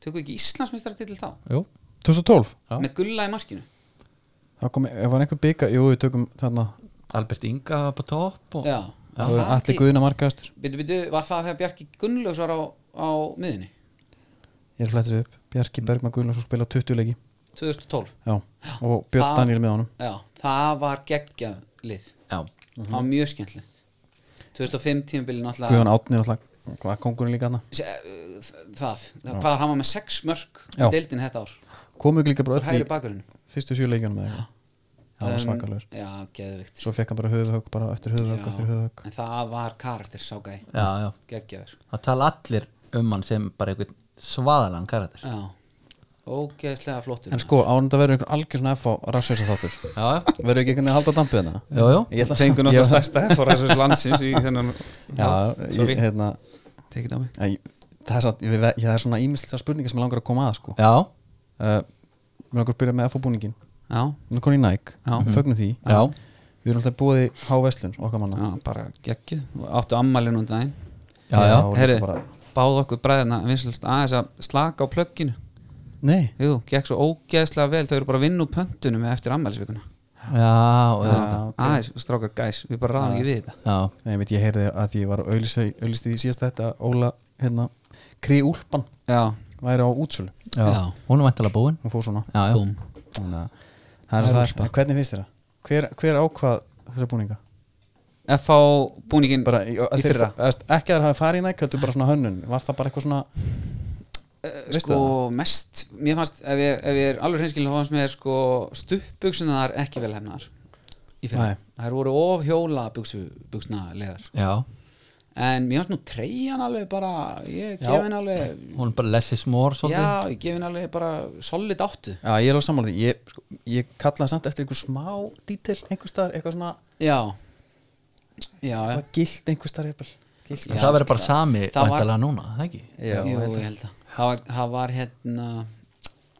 B: tökum við ekki Íslandsmeistar titil þá
C: jú
A: 2012
C: Já.
B: með gulla í markinu
A: þá kom, ef var einhver bygga, jú við tökum þarna
C: Albert Inga var bara topp og...
B: já,
A: það var allir guðina markaðastur
B: Byttu, byttu, var það þegar Bjarki Gunnlaugs var á, á miðinni
A: ég er flættir upp, Bjarki Bergman Guðlunds spila 20 leiki,
B: 2012
A: já, og Björn
B: Það-
A: Daniel með honum
B: já, það var geggjað lið
C: Já,
B: það var mjög skemmtilegt 2005 tímabili náttúrulega
A: Guðan Átni er alltaf, hvað kongurinn líka hann
B: Se- uh, það, það hvað hann var með sex mörg
A: Já.
B: deildin þetta ár,
A: komu ekki líka bara öll
B: hægri
A: í
B: bakurinn
A: fyrstu sjö leikjunum eða eitthvað það var svakalegur,
B: já, geðvikt
A: svo fekk hann bara höfuhögg bara eftir höfuhögg,
B: Já,
A: eftir höfuhögg
B: en það var karakter sá gæ
C: já, já
B: geggjaður
C: Það tala allir um hann sem bara einhvern svaðalan karakter
B: já, ógeðslega flottur
A: en sko, ánum þetta verður einhvern algjör svona F á rassjósa þáttur
C: Já, já,
A: verður ekki einhvern veginn að halda dampið þetta
C: já, já
A: ég ætla
B: fengur
A: ég-
B: náttúrulega stærsta hefforæsus landsins í þennan
A: Já, ég,
B: sorry,
A: hérna,
B: tekið á mig
A: æ, það er, satt, ég, ég, það er svona ímislega spurningar sem ég langar að koma að sko.
C: Já,
A: uh, Mér langar að byrja með FO-búningin
B: já,
A: Nú konið í Nike,
B: Já.
A: fögnum því
C: já,
A: Við erum alltaf búið í H-Vestlun okkar manna
B: já, bara geggið áttu ammalinn um daginn
C: já, já,
A: og líka
B: Herri,
A: bara-
B: báð okkur bræðina vinslust aðeins að slaka á plögginu
A: Nei,
B: jú, gekk svo ógeðslega vel þau eru bara að vinna úr pöntunum eftir ammælisvikuna
C: já, já,
B: aðeins, strákar gæs, við bara ráðum ekki við þetta
C: já.
A: Nei, ég veit, ég heyrði að því ég var auðlistið í síðast þetta að Óla, hérna, Kri Úlpan
B: já,
A: væri á útsölu
C: já.
B: Já.
C: Hún er væntalega búin
A: Hún fór svona
C: Já, já,
B: búm
A: Þannig að það er það En Hvernig finnst þér það? Hver, hver ákvað þessa búninga?
B: F.A. búningin
A: Bara, í,
B: Í fyrra.
A: Ekki að það hafi farið í Nike, heldur bara svona hönnun Var það bara eitthvað svona
B: Eh,
A: Veistu
B: sko mest mér fannst, ef ég, ef ég er alveg hreinskilin þá fannst mér sko stuppbuksunar ekki vel hefnar í fyrir,
A: Nei.
B: þær voru of hjóla buksna legar
C: já
B: en mér fannst nú treyjan alveg bara ég
A: Já.
B: gef henni alveg
C: Hún er bara lessis mór svolítið
B: já, ég gef henni alveg bara solid áttu
A: Já, ég er alveg sammála því Ég, sko, ég kallaði samt eftir einhver smá dítil einhver staðar, eitthvað svona
B: já já, já.
A: ja. gilt einhver staðar jafnvel. Gilt
C: Það verður bara sami
B: Það var-
C: væntalega núna, það ekki?
A: Já,
B: Jú,
A: held
B: ég held að það var, það var hérna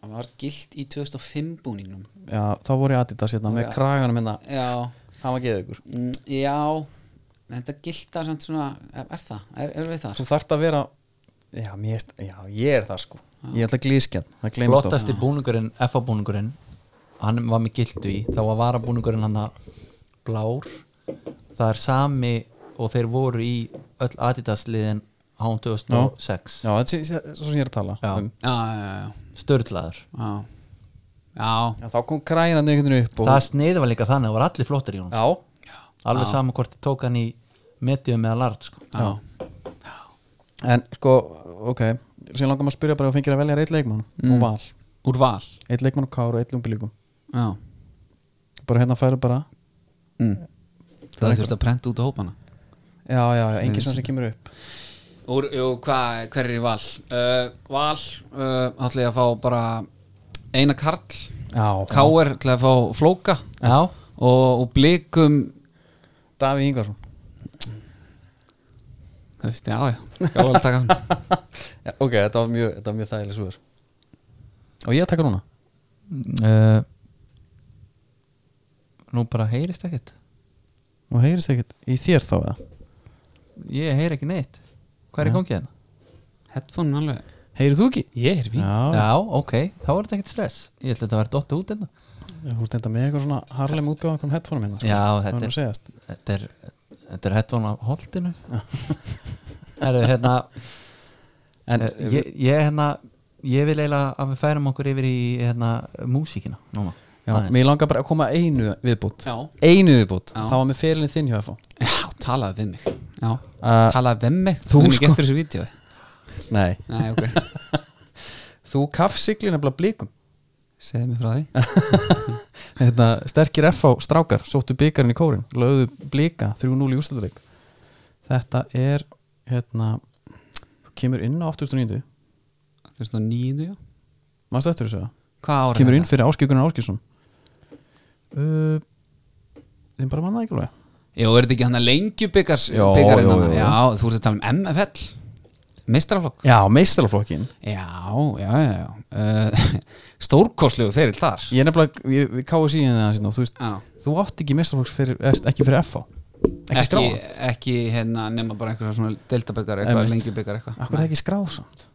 B: það var gilt í 2005 búningnum
A: Já, þá voru ég Adidas hérna með
B: Já.
A: kraganum hérna
B: já,
A: Það var geðið ykkur
B: mm, já þetta giltar samt svona er, er það, er, er við þar
A: Þú þarft að vera Já, mér, erst- já ég er það sko Ég er alltaf glískjarn, það gleymst
C: Flottasti búningurinn, FA búningurinn Hann var með gildu í Þá var vara búningurinn hann að blár Það er sami og þeir voru í öll Adidas liðin án 2006
A: Já, þetta er svo sem ég er að tala
C: Já.
A: um.
B: já, já,
C: Störðlaður
B: já já,
A: já Þá kom krænan einhvern veginn upp og...
C: Það sniði var líka þannig, það var allir flottir í honum
A: Já,
C: Alveg saman hvort þið tók hann í medium eða lart sko.
B: já, já.
A: en sko, ok Sér langar maður að spyrja bara að fengir að velja eitt leikmann mm. og val
B: úr val
A: Eitt leikmann og kár og eitt lumbilíkum
B: já.
A: Bara hérna færi bara
B: Mm. það þurfti að prenta út á hópana
A: Já, já, já, engin svona sem kemur upp
B: úr, jú, hva, hver er í val uh, val, uh, ætla ég að fá bara eina karl
A: Já,
B: K.R. ætla ég að fá flóka
C: Já,
B: og, og blikum
A: Davíð Ingvarsson
B: þú veist, já, já, já, vel taka hann
A: ja, Ok, þetta var mjög, þetta var mjög þægileg svör Og ég að taka núna
C: uh, Nú bara heyrist ekkert
A: Nú heyrist ekkert í þér þá eða
C: Ég heyr ekki neitt Hvað er í gangi hérna?
B: headphone alveg
A: Heyrið þú ekki?
B: ég er
A: Já,
C: Já, ok, þá er þetta ekkert stress Ég ætla þetta að vera dotta út hérna
A: þú ert enda með eitthvað svona harlem útgáðan kom headphone minna
C: Já,
A: þetta er sko.
C: þetta er-
A: nú segjast
C: Þetta er, þetta er hettvan á holdinu Herru, hérna
A: En
C: eh, ég, ég hérna Ég vil eiginlega að við færum okkur yfir í hérna, músíkina núna
A: já,
C: Aðeins.
A: mér langar bara að koma að einu viðbútt
B: já,
A: Einu viðbútt,
B: Já.
A: það var með fyrirlin þinn hjá FH
B: já talaði við mig já,
C: Ah.
A: Uh,
B: talaði við mig
A: þú
B: Muni
A: sko.
B: ekki eftir þessu vídeo
A: Nei,
B: nei, ok
A: þú kaffsigli nefnilega blíkum
B: segðu mig frá því
A: hérna, Sterkir FH strákar, sóttu byggarinn í kórin Löðu blíka 3-0 í úrstölduleik Þetta er hérna, þú kemur inn á 8.9
B: 2009, já
A: Manstu eftir þessu það?
B: hvað ára
A: kemur inn fyrir Áskjökunar Áskjösson uh, þeim bara manna ekki alveg
B: Jó, er þetta ekki hann að lengju byggars
A: Jó,
B: byggarinn
A: jó,
B: hana?
A: jó, jó.
B: Já, þú ert að tala um MFL Meistaraflokk
A: já, meistaraflokkin
B: Já, já, já, já uh, Stórkoslegu fyrir þar
A: ég er nefnilega, ég- við káum síðan það hérna þú veist,
B: Já,
A: þú átt ekki meistaraflokks fyrir, eða, ekki fyrir FH Ekki skráa hann?
B: ekki hérna nema bara einhverja svona deltabyggar eitthvað,
A: Einmitt.
B: lengjubyggar eitthvað
A: Akkur er ekki skráð samt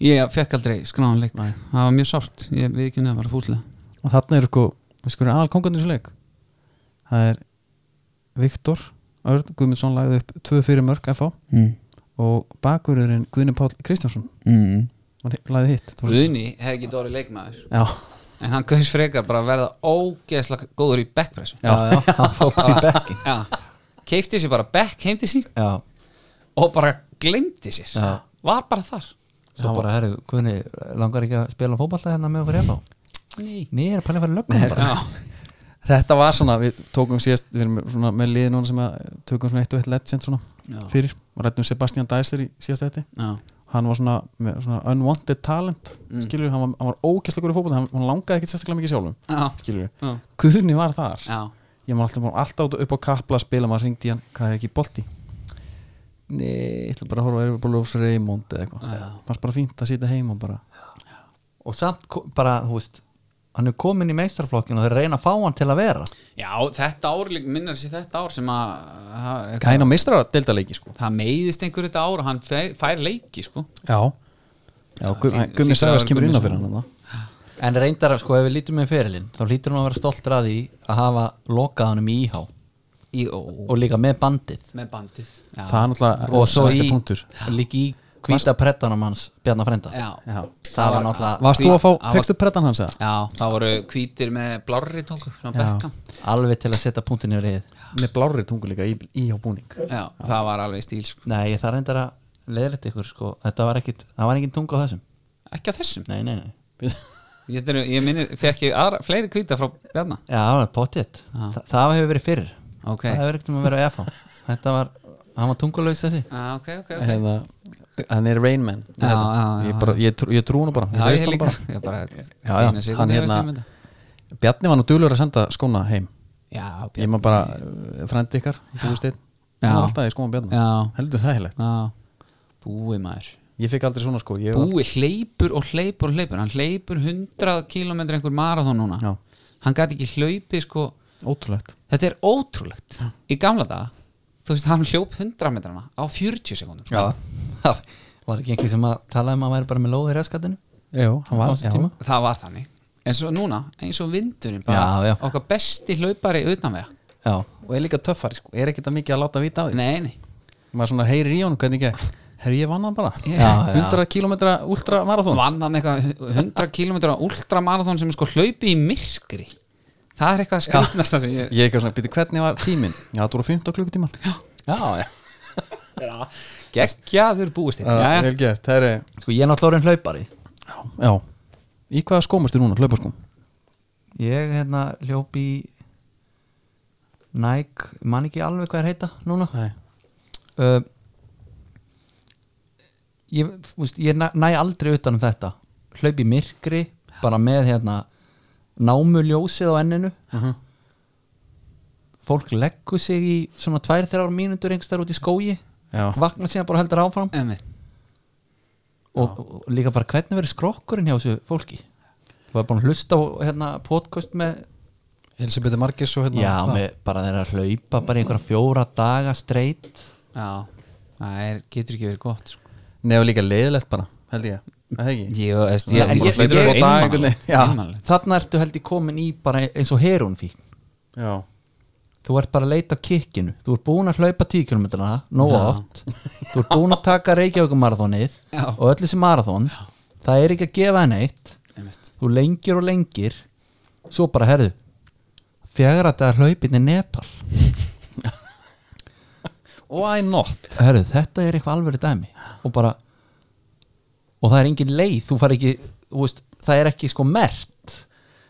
B: Ég fekk aldrei skráðan leik Það var mjög sárt, ég við ekki nefnir að fúslega
A: og þarna eru sko, við sko erum aðal kongarnir leik það er Viktor Örn Guðmundsson lagði upp 2-4 mörg FH
B: mm.
A: og bakururinn Guðni Páll Kristjánsson
B: mm.
A: hann lagði hitt Þú-
B: Guðni hefði ekki dóri leikmaður
A: Já,
B: En hann gauðs frekar bara að verða ógeðslega góður í backpressu
C: já, já, hann fór bara í bekkin
B: Já, keifti sér bara back, heimti sín
C: já,
B: og bara glemdi sér
C: Já.
B: Var bara þar
C: svo bara, herru, hvernig langar ekki að spila fótballa hérna með okkur hérna
B: Nei
C: Nei, ég er að pæla að fara lögum bara
B: Já,
A: þetta var svona, við tókum síðast við erum svona með liði núna sem að tökum svona eitt og eitt legend svona
B: Já.
A: fyrir og rættum Sebastian Dæsir í síðast þetta
B: já,
A: hann var svona, með svona unwanted talent mm. skilur, hann var, hann var ógæslega góður í fótbolta hann, hann langaði ekki sérstaklega mikið sjálfum
B: já,
A: skilur,
B: já,
A: Guðni var þar
B: já.
A: ég maður alltaf, alltaf upp á kapla að spila maður ringdi í hann, hvað er ekki í bolti nei, ég ætla bara að horfa að bara lofs Raymond eða eitthvað
B: Já.
A: það var bara fínt að sitja heim og bara
C: og samt ko- bara, þú veist hann er komin í meistarflokkin og þeir reyna að fá hann til að vera
B: já þetta ár lík- minnir sér þetta ár sem að það er-
A: gæna meistrar að delta leiki sko
B: Það meiðist einhver þetta ár og hann fær, fær leiki sko
A: já, já Gu-
B: Hlý-
A: Gummi
B: hlýtur að
A: Sæðars
B: vera
A: kemur
B: Gummi
A: inn á fyrir
B: Sævar.
A: hann þarna.
C: en reyndar, að, sko, ef við lítum með ferilinn þá lítur hann að vera stoltur að því að hafa lokað hann um íhá
B: Í ó
C: og líka með bandið
B: Með bandið Já,
A: það er náttúrulega
C: og svo
A: stærsti
C: í,
A: punktur
C: líka í hvíta prettanum hans Bjarnar Frenda
B: já.
A: já.
C: það var náttúrulega
A: varst þú að fá,
B: Því-
A: fegst þú prettan hans eða?
B: já það voru hvítir með blárri tungu Svona
A: Já.
B: bekka
C: alveg til að setja punktin í reyð
A: með blárri tungu líka í, í á búning
B: já, það var alveg stíl sko
C: nei, ég þarf reyndar að leiðrætt ykkur sko. þetta var ekkit, það var engin tunga á þessum
B: Ekki á þessum
C: nei, nei, nei,
B: Ég, þeir, ég minni, fekk ég aðra, fleiri hvíta frá Bjarna
C: já, það var potið Þa, það hefur verið fyrir
B: Ok.
C: það hefur ekkert um að vera á FH þetta var, hann var tungulaus þessi
B: ah, Ok, ok, ok
A: eða Hérna, hann er Rain Man
B: Já,
A: Þetta.
B: já, já,
A: ég, bara, ég, trú, ég trú hann bara, ég
B: Já,
A: veist
B: ég
A: hana
B: líka
A: bara.
B: Ég bara,
A: Já, já,
B: fína sekúndu
A: hann
B: í
A: hérna-
B: restina mynda.
A: Bjarni var nú duglur að senda skóna heim
B: Já,
A: ég maður bara frendi ykkar búiðsteinn,
B: Já.
A: hann var alltaf í skóma bjarna
B: Já.
A: heldur þægilegt,
B: já hérna, Búi maður
A: ég fekk aldrei svona sko ég var,
B: Búi hleypur og hleypur og hleypur Hann hleypur 100 km einhver marathon núna
A: Já.
B: Hann gæti ekki hlaupi sko
A: ótrúlegt
B: Þetta er ótrúlegt Í gamla daga Þú veist, hann hljóp 100 metrana á sko. 40 sekundum
C: já, var ekki einhver sem að tala um að væri bara með lóði í reskatinu
A: já, hann
C: á
A: var,
C: þessum
A: já,
C: tíma
B: Það var þannig En svo núna, eins og vindurinn bara
C: Já, já.
B: Okkar besti hlaupari utanvega
C: já,
A: og er líka töffari sko, er ekki það mikið að láta vita á því
B: Nei, nei
A: maður svona heyri í honum, hvernig gekk herri ég vann hann bara,
C: Já, já.
A: 100 km ultra marathón
B: vann hann eitthvað 100 km ultramarathon sem er sko hlaupi í myrkri það er eitthvað skrýtnasta sem ég
A: ég eitthvað svona, býti hvernig var tíminn já, þú voru 15 klukkutímar
C: já, já
B: geggjaður búist hérna. þér
A: Já,
B: Jæja.
A: vel gert, það er
C: sko ég er náttúrulega orðinn hlaupari
A: já, í hvaða skóm erstu núna, hlaupaskóm
C: Ég hérna hljóp í Nike, man ekki alveg hvað er heita núna
A: nei,
C: uh, Ég, þú veist, ég næ, næ aldrei utan um þetta Hlaup í myrkri, bara með hérna námuljósið á enninu
A: Mhm.
C: Fólk leggur sig í svona tvær, þrjár mínútur einhvers þar út í skógi
A: já,
C: Vakna síðan bara og heldur áfram
B: Einmitt.
C: og, og líka bara hvernig verður skrokkurinn hjá þessu fólki Þú var búin að hlusta á hérna podcast með
A: Elisabeth Margis og hérna
C: Já,
A: hvað?
C: með, bara þeir eru að hlaupa bara í einhverja fjóra daga streitt
B: já, það er, getur ekki verið gott sko.
A: Nei, og líka leiðilegt bara, held ég Er Það ekki?
B: ég, veist,
C: Já,
B: ég,
C: en ég-
B: ég, ég,
C: ég-
B: ég,
A: dag einhvern veginn, já.
B: einmanalegt.
C: Þarna ertu held ég komin í bara eins og herun fík
A: Já,
C: Þú ert bara að leita á kikkinu Þú ert búin að hlaupa 10 km nógu oft Þú ert búin að taka Reykjavíkumarathonið
B: Já.
C: og öll þessi marathon Það er ekki að gefa henni eitt
B: Einmitt.
C: Þú lengir og lengir Svo bara herðu Fjagra dagar hlaupin er Nepal
A: why not?
C: herru, þetta er eitthvað alvöru dæmi og bara og það er engin leið, þú far ekki þú veist, það er ekki sko mert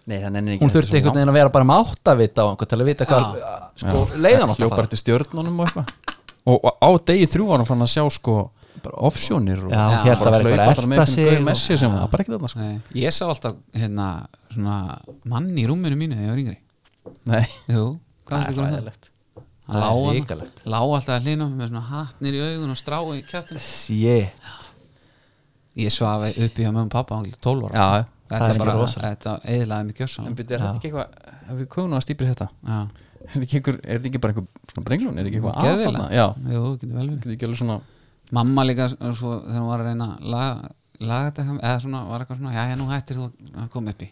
A: Nei, það nennir ekki
C: hún þurfti einhvern veginn að vera bara með áttavita og einhvern til að vita hvað sko, leiðan átt að
A: Hljópar
C: fara
A: eftir stjörnunum og eitthvað og, og á degi þrjú var hann fann að sjá sko bara offsjónir og
C: já,
B: Já,
C: hér það
A: bara
C: verður
A: hlaupa
C: eitthvað
A: bara
C: að
A: með
C: elta
A: einhvern
C: sig
A: gauð messi sem var bara ekki þarna sko
B: Nei, ég sá alltaf hérna, svona, mann í rúminu mínu þegar ég var yngri
A: Nei,
B: Jú, hvað er þetta?
A: ræðilegt
B: Hann
C: Það er
B: lá þarna,
C: hrikalegt.
B: lá alltaf að hlina með svona hattnir í augun og strái í kjæftin
C: shit,
B: Ég svafi uppi hjá mömmu og pappa ánglið 12 ára
A: Já,
B: Þetta
C: Það er
B: bara,
C: rosalegt.
B: þetta eðlaði mig
A: en
B: gjössan
A: byrja, er þetta ekki eitthvað við komum nú að stýpir þetta
B: Já,
A: er þetta ekki, einhver, er þetta ekki bara einhver svona brenglun, er þetta ekki eitthvað að
B: Geðveila.
A: þarna? Já,
B: Jú, getur vel verið
A: getur ekki alveg svona
B: Mamma líka s- svo, þegar hún var að reyna að laga, laga þetta hjá- eða svona var eitthvað svona, já, nú hættir þú að koma upp í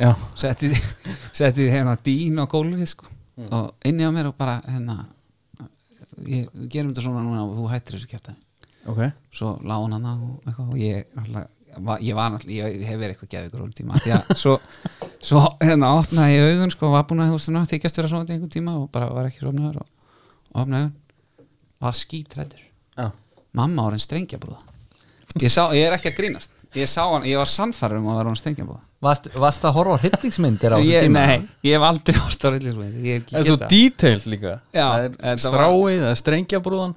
A: já,
B: setti setti hérna dýn á gólfið sko og inni á mér og bara hérna ég, við gerum þetta svona núna og þú hættir þessu kjæfta
A: ok
B: svo lá hún hana og, eitthvað, og ég, alltaf, va- ég var alltaf, ég hef verið eitthvað geðugur úr tíma því að svo, svo hérna opnaði ég augun sko, var búin að þú veist svona þykjast vera svona einhvern tíma og bara var ekki sofnaður og, og opnaði augun var skítrættur
A: já,
B: mamma var einn strengjabrúða ég, sá, ég er ekki að grínast ég, sá hann, ég var sannfærum um að vera hann strengjabrúða
C: Varst, varst að horfa á hittingsmyndir á
B: ég,
C: þessu tíma?
B: nei, ég hef aldrei ást á reyðlismið ég
A: en
B: get
A: svo
B: það.
A: detail líka
B: Já,
A: Það
B: þetta
A: er stráið, það er strengjabrúðan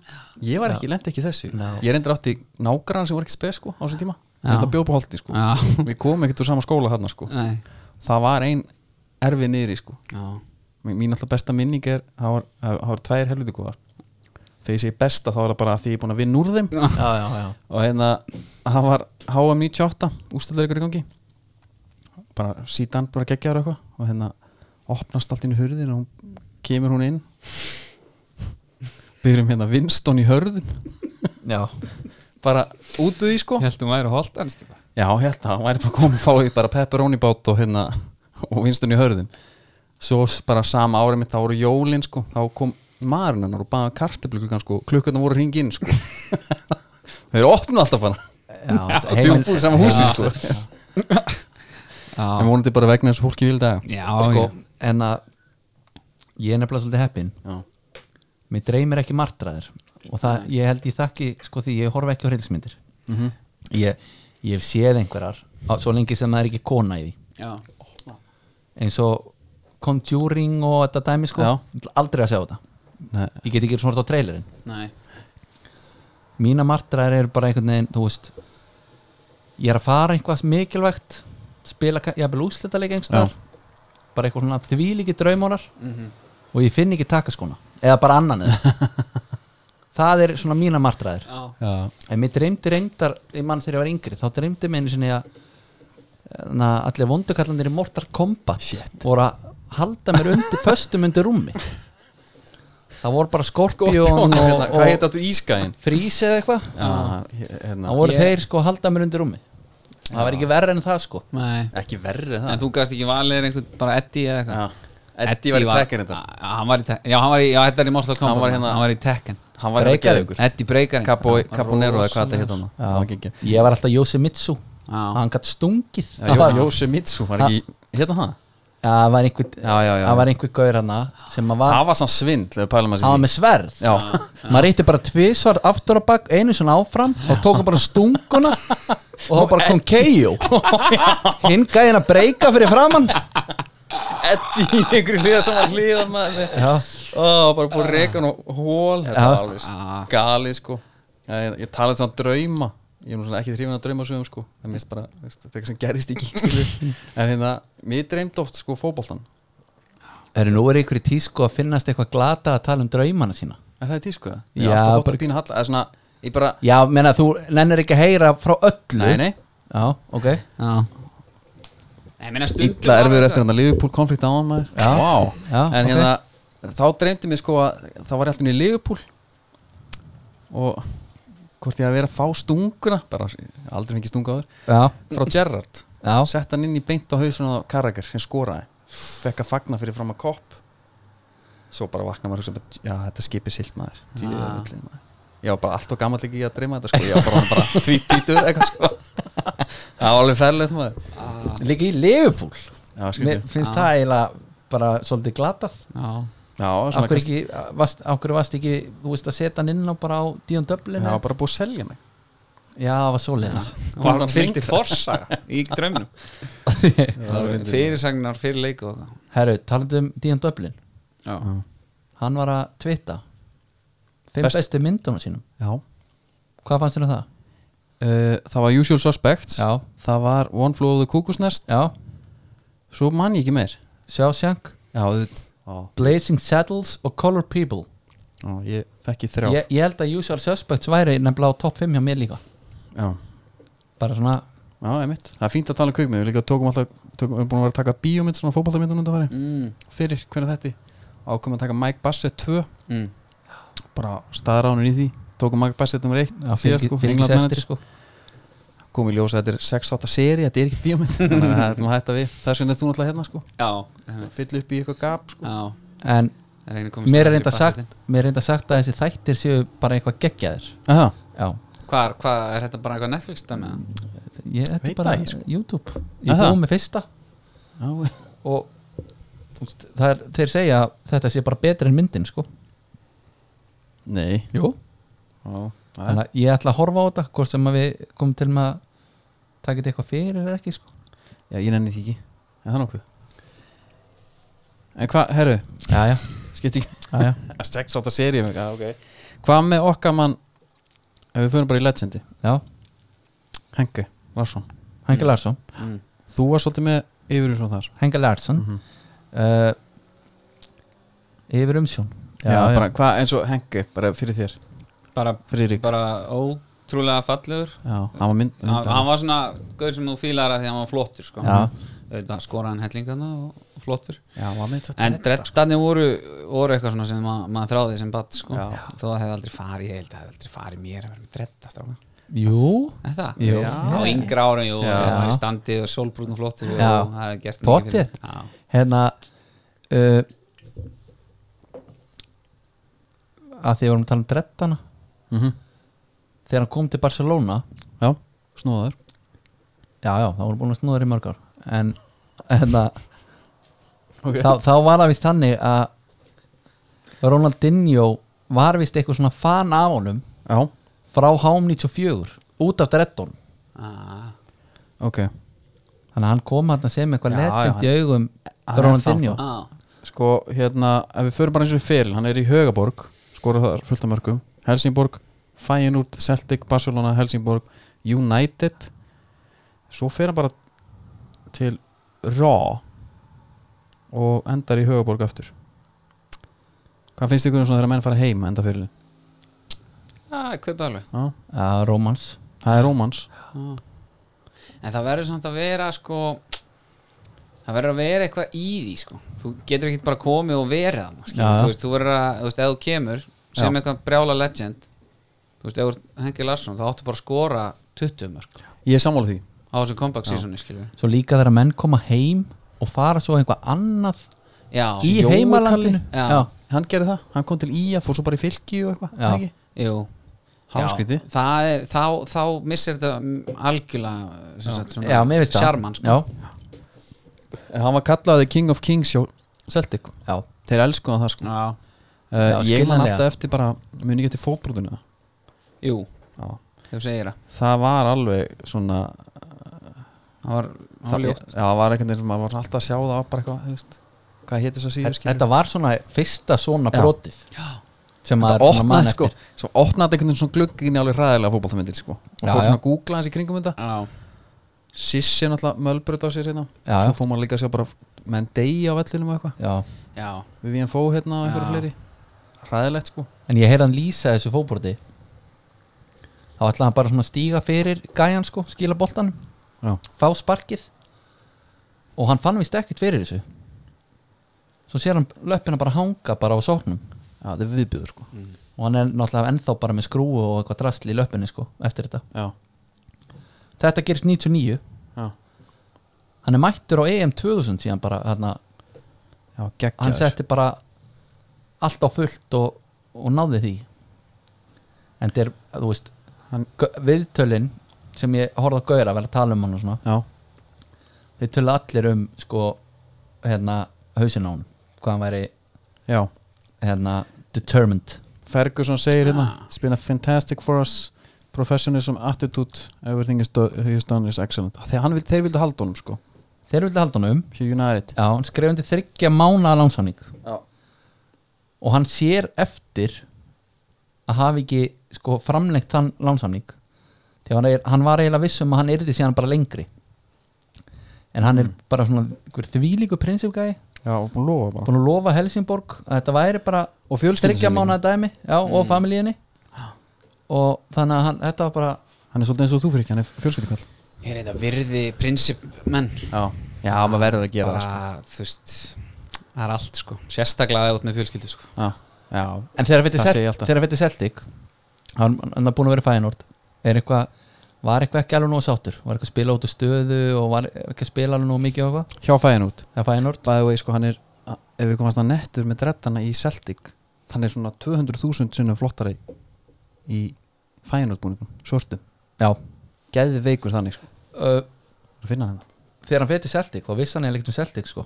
A: ég var ekki, lendi ekki í þessu
C: Já.
A: ég reyndi átti nágrann sem voru ekki spes sko á þessum tíma,
B: Já.
A: þetta bjóð på holdi sko
B: Já.
A: við komum ekkert úr sama skóla þarna sko
B: Nei.
A: það var ein erfið niðri sko
B: Já.
A: mín mín alltaf besta minning er það var, það var tvær helviti góðar þegar ég segi besta þá er það bara að því ég er búin að vinna úr þeim
C: Já, já, já
A: og hérna það var HM 98 ústæðlega ykkur í gangi bara síðan bara geggjaður eitthvað og hérna opnast allt inn í hurðin og hún, kemur hún inn byrjum hérna Winston í hörðin
C: Já,
A: bara út úr því sko
B: ég held hún væri holtanist í bara.
A: Já, hérna, hann væri bara komið að fá því bara pepperoni bát og hérna og vinstun í hörðin svo s- bara sama árið mitt, þá voru jólin sko, þá kom maðurinn hennar og baða kartiblugan sko, klukkarnar voru hringi inn sko þau eru opnu alltaf hana
C: já,
A: og djúpur í sama húsi sko en
B: já,
A: vonandi bara vegna þessu hólki vil dag
B: já,
C: sko,
B: sko,
C: En að ég er nefnilega svolítið heppin
A: Já,
C: Mér dreymir ekki martraðir og það, ég held ég þakki sko því ég horfa ekki á hittingsmyndir ég, ég hef séð einhverjar á, svo lengi sem það er ekki kona í því
B: já.
C: eins og Conjuring og þetta dæmi sko
A: Já.
C: Ég ætla aldrei að sjá þetta
A: Nei,
C: ég get ekki svona á trailerinn
B: Nei.
C: mína martraðir eru bara einhvern veginn þú veist ég er að fara eitthvað mikilvægt spila, ka- ég er bara úrslitaðleik einhverstaðar bara eitthvað svona þvílíki draumónar og ég finn ekki takaskona eða bara annan eða. það er svona mína martraðir
B: Já.
A: já,
C: en mér dreymdi reyndar, ég mann þegar ég var yngri þá dreymdi mér einu sinni að na, allir vondukallandir í Mortal Kombat Shit. voru að halda mér undir föstum undir rúmi það voru bara
A: gott
C: Skorpion
A: jón,
C: og,
A: hérna, hvað heit
C: og,
A: þetta ískæðin?
C: Frís eða eitthvað
A: Já, hérna,
C: það voru
B: Ég-
C: þeir sko að halda mér undir rúmi það var ekki verra en það sko
B: Nei.
A: ekki verri
B: en
A: það
B: þú gast ekki valið einhvern bara Eddie eða
A: Já.
B: eitthvað
A: Eddi var í tekken þetta
B: Já, hann var í Tekken Já, hann var í, já, þetta er í Mortal Kombat
A: Hann var hérna-
B: hann var í Tekken
A: Hann var hérna
C: Reykjavík.
A: geðugur
B: Eddie Breakarinn
A: Caponero eða hvað þetta heit hann
C: Já. ég var alltaf Yoshimitsu
B: Já.
C: hann gætt stungið það
A: Já,
C: var,
A: Yoshimitsu var ekki, hérna það?
C: Já, það var einhver,
A: Já, já, já.
C: það var einhver gaur hana sem að var,
A: Það var sann svindl ef pælum að
C: hann var með sverð
A: Já,
C: maður reytti bara tvisvar aftur á bakk einu svona áfram og tók hann bara stunguna og þá bara kom K.O. hinn gæði hann að breyka fyrir framann
A: Eddi í einhverju hliða saman hliða maður
C: já,
A: Ó, bara búið reikan og hól Þetta
C: Já.
A: var alveg gali sko Já, Ég, ég talaði samt drauma Ég er nú svona ekki þrýfin að drauma sögum sko Það minnst bara, veist, þetta er eitthvað sem gerist ekki skilur. En hérna, mér dreymd oft sko fótboltan
C: er nú er ykkur í tísku að finnast eitthvað glata að tala um draumana sína
A: En það er tísku það?
C: Já,
A: Ég er alltaf þótt að
C: bara-
A: pína halla Það er svona, ég bara
C: já, menna þú nennir ekki að heyra frá öllu
A: Nei, nei,
C: já, ok
B: Já Nei, meina stundum
A: illa
B: var
A: erfiður
B: þetta-
A: eftir hérna Liverpool konflikt á hann maður
C: Já.
A: Vá.
C: Já,
A: En
C: ok.
A: hérna, þá dreymdi mér sko að það var alltaf í Liverpool og hvort ég að vera að fá stunguna bara aldrei fengið stunga áður
C: já,
A: frá Gerrard
C: já,
A: sett hann inn í beint á hausuna á Karagir sem skoraði, fekk að fagna fyrir fram að kopp svo bara vakna maður og hugsa bara, já þetta skipir silt maður djöfullinn maður ég var bara allt og gammal ekki í að dreyma þetta sko ég var bara, bara tvít tvítur eitthvað sko það var alveg ferlegt maður
C: líka í Liverpool
A: já,
C: mér
A: skrítið.
C: finnst það eiginlega bara svolítið glatað
B: Já
A: já, svona
C: okkur ekki, varst, okkur varst ekki þú veist að setja hann inn á bara á Díon Dublin
A: Já,
C: já,
A: bara búið að selja mig
C: það var svoleiðis
B: Var
A: Konan
B: hann fylgdi forsaga í drömminum Fyrirsagnar fyrir leiku og eitthvað
C: herru, talandu um Díon Dublin
B: Já.
C: hann var að twitta fimm
A: Best-
C: bestu myndunum sínum
A: Já
C: hvað fannst þér um það?
A: uh, Það var Usual Suspects
C: Já.
A: Það var One Flew of the Cuckoo's Nest
C: já,
A: Svo mann ég ekki meir
C: Shawshank,
A: Já, auðvitað. já.
C: Blazing Saddles og Color People
A: já ég þekki þrjá
C: ég, ég held að Usual Suspects væri nefnilega á topp 5 hjá mér líka
A: Já,
C: bara svona,
A: já ég mitt Það er fínt að tala um kvikmið Við líka tókum alltaf tókum, Við erum búin að vera að taka bíómynd Svona fótballtamyndunum þetta fari
B: Mm.
A: Fyrir, hvernig þetta ákveðum að taka Mike Bassett 2
B: mm.
A: bara staðránur í því tókum Mike Bassett nummer 1
C: Já,
A: síðast sko,
C: fylgis
A: England
C: eftir,
A: manager
C: sko.
A: komum í ljósa, þetta er 6-8 seri, þetta er ekki bíómynd þannig að þetta má hætta við, þess vegna er þú náttúrulega hérna sko
B: Já, einmitt.
A: fyll upp í eitthvað gap sko
B: já
C: en
B: það er eiginlega komist
C: mér er
B: að-
C: reynda sagt mér er reynda sagt að þessi þættir séu bara eitthvað geggjaðir
A: Aha.
C: já,
B: Hvað, er- hvað, er þetta bara eitthvað Netflix dæmi? eða?
C: ég, þetta
A: Veit
C: er bara
A: það ekki, sko.
C: YouTube
A: Aha.
C: ég búið með fyrsta
A: Já,
C: og þú veist, það er, þeir segja að þetta sé bara betur en myndin sko
A: nei
C: Jú.
A: Já,
C: þannig að ég ætla að horfa á þetta hvort sem að við komum til með að taka þetta eitthvað fyrir eða ekki sko
A: Já, ég nenni því ekki En það nokkuð En hvað, herru,
C: já, já,
A: skipti ekki
C: já, já.
A: Sex átta serið Já, ok Hvað með okkar mann Ef við fyrir bara í legendi
C: já.
A: Hengi Larsson
C: Hengi Larsson
B: Mm.
A: Þú var svolítið með yfir svo þar
C: Hengi Larsson
A: Mhm.
C: uh, yfir umsjón
A: Já, bara hvað eins og Hengi Bara fyrir þér
B: Bara,
A: Fyrir Rík
B: bara ótrúlega fallegur
A: Já, hann var mynd
B: hann, hann var svona gaur sem þú fílar að því að hann var flottur sko.
C: Já.
B: Auðvitað skoraði hann hellingana og flottur
A: Já, hann var mynd
B: en drettarnir voru, voru eitthvað svona sem ma maður þráði sem batt sko.
A: Já.
B: þó að það hefði aldrei farið, ég held að það hefði aldrei farið mér að vera með drettastráka
C: jú,
B: Þetta?
C: Jú.
B: Já. Á yngra árum, jú,
A: Já.
B: það var í standi og sólbrún og flottur og
C: Já.
B: það hefði gert mikið fyrir-
C: Pottþétt.
B: Já.
C: hérna uh, að því við vorum að tala um drettana þegar hann kom til Barcelona
A: Mhm. Já, snúðaður
C: já, já, þá voru búin að snúður í mörg ár en hérna
A: Ok
C: þá, þá var það vist þannig að Ronaldinho var vist eitthvað svona fan af honum
A: Já,
C: frá HM 94 út af dretton
B: Ah.
A: ok
C: þannig að hann kom hann sem eitthvað
A: Já, já,
C: legend í augum
A: hann er
C: Ronaldinho
B: Ah.
A: Sko, hérna, ef við fyrir bara eins og við fyrir Hann er í Högaborg, skora þar fullt af mörgum Helsingborg, Feyenoord, Celtic, Barcelona, Helsingborg United Svo fyrir hann bara til Raw Og endar í Högaborg aftur Hvað finnst ykkur um svona þegar menn fara heim enda fyrir
B: Ah, kaupa alveg
A: Já,
C: já, Romans
A: það er Rómans
B: Já. En það verður samt að vera sko það verður að vera eitthvað í því sko þú getur ekkert bara komið og verið þarna, skilur.
C: Já, já.
B: þú veist, þú verður að, þú veist, ef þú kemur sem
A: Já.
B: eitthvað brjála legend þú veist, ef þú ert Hengi Larsson, þá áttu bara að skora 20 mörg
A: Ég er sammála því
B: á þessu comeback seasoni, skiljum
C: svo líka þegar menn koma heim og fara svo eitthvað annað
B: Já,
C: í
A: Jói
C: heimalandinu
B: Kalli. Já.
A: Hann gerði það, hann kom til Ía, fór svo bara í fylki og eitthvað
C: Já.
A: ekki?
B: jú
A: Hann var skrítið.
B: það er, þá, þá missir þetta mm, algjörlega sem sagt, svona
C: já, mér veist það
B: sjarmann, sko.
C: já,
A: En hann var kallaði King of Kings hjá Celtic
C: já,
A: Þeir elskuðan það sko
B: Já.
C: Já,
A: Uh, ég man
C: skiljanlega.
A: alltaf eftir bara muni ekki eftir fótbrotinu
B: Jú, þú segir það
A: það var alveg svona
B: það var, það var
A: það,
B: ljótt
A: já, það var ekkert eins og maður var alltaf að sjá það á bara eitthvað þú veist, hvað hétt þess að síðu
C: þetta var svona fyrsta svona
A: Já.
C: brotið
B: Já.
C: sem maður
A: þetta
C: svona man
A: opnaði sko
C: eftir.
A: svo opnaði einhvern veginn svona gluggin í alveg hræðilega fótballtamyndir sko og
C: Já,
A: fór
C: já.
A: svona að googla hans í kringum þetta
B: Já.
A: Sissi náttúrulega mölbrut á sér hérna
C: Já, já.
A: svo fór maður líka að sjá bara menn degi á vellinum og eitthvað
C: já,
B: Já.
A: við við hann fóð hérna og einhverju
B: Já.
A: fleiri hræðilegt sko
C: en ég heyrði hann lýsa þessu fótbroti þá ætlaði hann bara svona að stíga fyrir gæjan sko, skila boltan
A: já,
C: fá sparkið og hann fann vist ekkert fyrir þessu svo sér hann löppina bara hanga bara á sóknum
A: já það er viðbjöður sko
C: og hann er náttúrulega ennþá bara með skrúu og eitthvað drasli í löppinni sko, eftir þetta
A: já,
C: þetta gerist 99
A: já,
C: hann er mættur á E EM 2000 síðan bara þarna,
A: já
C: hann
A: geggjaður
C: setti bara allt á fullt og, og náði því en þetta er, þú veist
A: Hann-
C: gau- viðtölin sem ég horfði á gauðra að vera að tala um hann og svona
A: já,
C: þeir tölu allir um sko hérna hausinn á hann hvað hann væri
A: já
C: hérna determined
A: Ferguson segir hérna
B: Ah.
A: It's been a fantastic for us Professionalism, attitude, everything is do- he's done is excellent Þegar hann vil, þeir vildu halda honum sko
C: þeir vildi halda hann um
A: Hjá United
C: já, hann skrifundi þryggja mánaða lánsáning
A: Já.
C: og hann sér eftir að hafa ekki sko framlengt þann lánsáning þegar hann, er, hann var eiginlega viss um að hann yrði síðan bara lengri en hann er bara svona einhver þvílíku prinsipgæði
A: Já, og búin að lofa bara
C: búin að lofa Helsingborg að þetta væri bara
A: Og fjölskyldu
C: þryggja
A: sinni líka.
C: mánaða dæmi já, og familíinni og þannig að hann, þetta var bara
A: Hann er svolítið eins og þú fyrir ekki, hann er fjölskyldikall
B: Ég er þetta virði prinsip menn
C: sko.
A: Já, já maður verður að sko.
B: bara, þú veist það er allt sko sérstaklega út með fjölskyldu sko
A: Já, já
C: En þegar
A: Það segi ég alltaf.
C: þetta er Celtic hann hann er búin að vera fæinort er eitthvað, var eitthvað ekki alveg nóg sáttur var eitthvað að spila út af stöðu og var ekki að spila alveg nóg mikið og eitthvað
A: Hjá fæðin út
C: það fæinort,
A: Bæði vegi sko hann er Ef við komast að nettur með drettana í Celtic Hann er svona 200.000 sinnum flottari Í fæðin útbúningum Svörtum
C: já
A: Gæði veikur þannig sko
C: uh,
A: Það finna hann
C: þegar hann fyrir Celtic, þá vissi hann eða um Celtic sko.